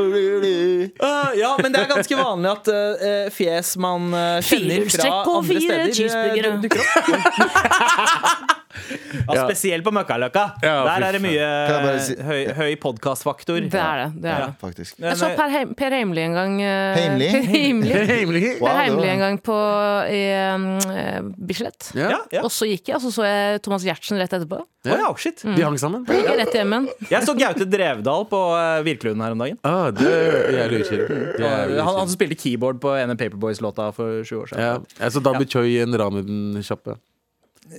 Speaker 3: Ah, ja, men det er ganske vanlig at eh, fjes man eh, kjenner fra
Speaker 5: Firehjulstrekk på
Speaker 3: andre
Speaker 5: fire
Speaker 3: steder, eh,
Speaker 5: cheeseburgere.
Speaker 3: dukker opp. ja, spesielt på Møkkaløkka.
Speaker 4: Ja,
Speaker 3: Der
Speaker 4: fy
Speaker 3: er det mye
Speaker 2: Kan jeg bare si-
Speaker 3: eh, høy, høy podkastfaktor.
Speaker 5: Det er det. det, er det.
Speaker 2: Faktisk.
Speaker 5: Jeg så Per, Heim, per Heimly en gang. eh,
Speaker 2: Heimly?
Speaker 5: Per Heimly.
Speaker 4: Hemmelig.
Speaker 2: Wow,
Speaker 5: Per
Speaker 2: det
Speaker 5: Heimly
Speaker 2: var-
Speaker 5: en gang på i, eh, Bislett.
Speaker 3: Ja,
Speaker 4: Ja.
Speaker 3: ja.
Speaker 5: Og så gikk jeg, og så så jeg Thomas Giertsen rett etterpå.
Speaker 3: Å ja, shit.
Speaker 5: Mm.
Speaker 4: De hang sammen.
Speaker 2: Mm.
Speaker 5: Gikk jeg rett hjem igjen.
Speaker 3: Jeg så Gaute Drevdal på eh, Virkelund her om dagen.
Speaker 4: Ah, det jeg er lurkjører.
Speaker 2: Mm.
Speaker 4: Det er
Speaker 3: Han, han
Speaker 4: lurkjører.
Speaker 3: som spilte keyboard på en av Paperboys-låta for sju år siden.
Speaker 4: Ja. Jeg så Dabby Choi i en ramen-sjappe.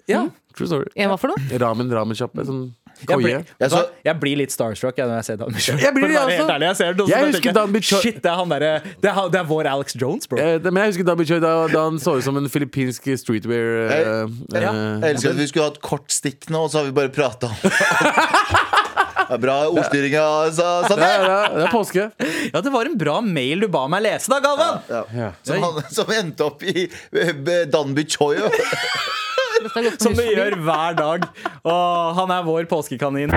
Speaker 3: Ja.
Speaker 4: True story.
Speaker 5: En hva for noe?
Speaker 4: Ramen-ramen-sjappe. Sånn
Speaker 3: Jeg,
Speaker 4: koie.
Speaker 3: blir,
Speaker 2: Jeg så-
Speaker 3: jeg blir litt starstruck jeg, når jeg ser Dan Bichon.
Speaker 4: Jeg blir det, jeg også.
Speaker 3: Jeg, ser det, og så
Speaker 4: Jeg
Speaker 3: bare
Speaker 4: husker
Speaker 3: tenker
Speaker 4: Dan Bichon-
Speaker 3: Shit, det er, han derre- det, er, han- det er vår Alex Jones, bro.
Speaker 4: Eh, det- Men jeg husker Dabby Choi da, da han så ut som en filippinsk streetwear eh, eh,
Speaker 2: Jeg elsker at vi skulle hatt kort stikk nå, og så har vi bare prata om det. Det er Bra ordstyring av sa-
Speaker 4: det,
Speaker 2: Sander!
Speaker 4: er, det, er, det er påske.
Speaker 3: Ja, det var en bra mail du ba meg lese da, Galvan!
Speaker 2: Ja. Som, han, som endte opp i eh, Danby Choi.
Speaker 5: Dette har gått på
Speaker 3: Som
Speaker 5: hus
Speaker 3: det
Speaker 5: forbi.
Speaker 3: gjør hver dag. Åh, han er vår påskekanin.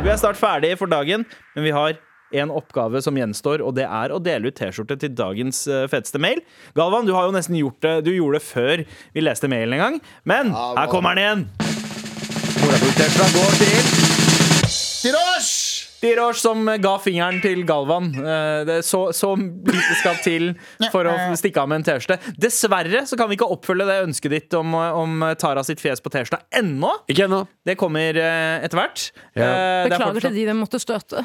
Speaker 3: Vi er snart ferdig for dagen, men vi har en oppgave som gjenstår, og det er å dele ut T-skjorte til dagens eh, feteste mail. Galvan, du har jo nesten gjort det Du gjorde det før vi leste mailen en gang, men her kommer den igjen.
Speaker 2: Morapulte går til Tirasj!
Speaker 3: Dirosh som ga fingeren til Galvan. Eh, Det er så, så lite skal til for å stikke av med en T-skjorte. Dessverre så kan vi ikke oppfølge det ønsket ditt om, om Tara sitt fjes på T-skjorta ennå.
Speaker 4: Ikke ennå.
Speaker 3: Det kommer eh, etter hvert. Eh,
Speaker 4: Ja.
Speaker 3: det er
Speaker 5: Beklager til
Speaker 3: fortsatt-
Speaker 5: de de måtte støte.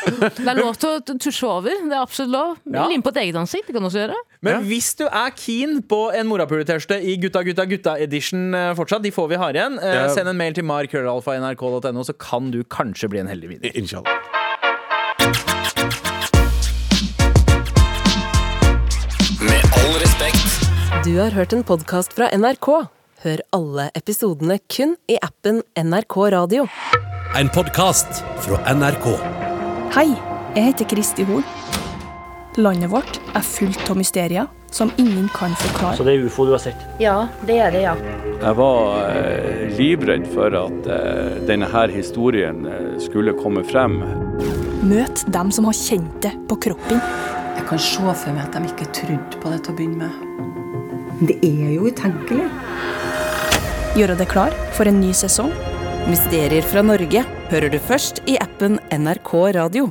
Speaker 5: eh, det er lov til å tusje over. Det er absolutt lov.
Speaker 3: Ja.
Speaker 5: Lim på et eget ansikt. Det kan du også gjøre.
Speaker 3: Men
Speaker 4: Ja.
Speaker 3: hvis du er keen på en morapuletørste i Gutta gutta gutta edition eh, fortsatt, de får vi har igjen, eh,
Speaker 4: Ja.
Speaker 3: send en mail til markrøllalfa.nrk.no, så kan du kanskje bli en heldig vinner.
Speaker 4: Inshallah.
Speaker 7: Med all respekt.
Speaker 1: Du har hørt en podkast fra NRK. Hør alle episodene kun i appen NRK Radio.
Speaker 10: En podkast fra NRK.
Speaker 11: Hei, jeg heter Kristi Hol. Landet vårt er fullt av mysterier som ingen kan forklare.
Speaker 10: det er ufo du har sett?
Speaker 11: Ja, det er det, ja.
Speaker 10: Jeg var eh, livredd for at eh, denne her historien eh, skulle komme frem.
Speaker 11: Møt dem som har kjent det på kroppen.
Speaker 6: Jeg kan se for meg at de ikke trodde på det til å begynne med.
Speaker 11: Gjøre deg klar for en ny sesong.
Speaker 1: Mysterier fra Norge hører du først i appen NRK Radio.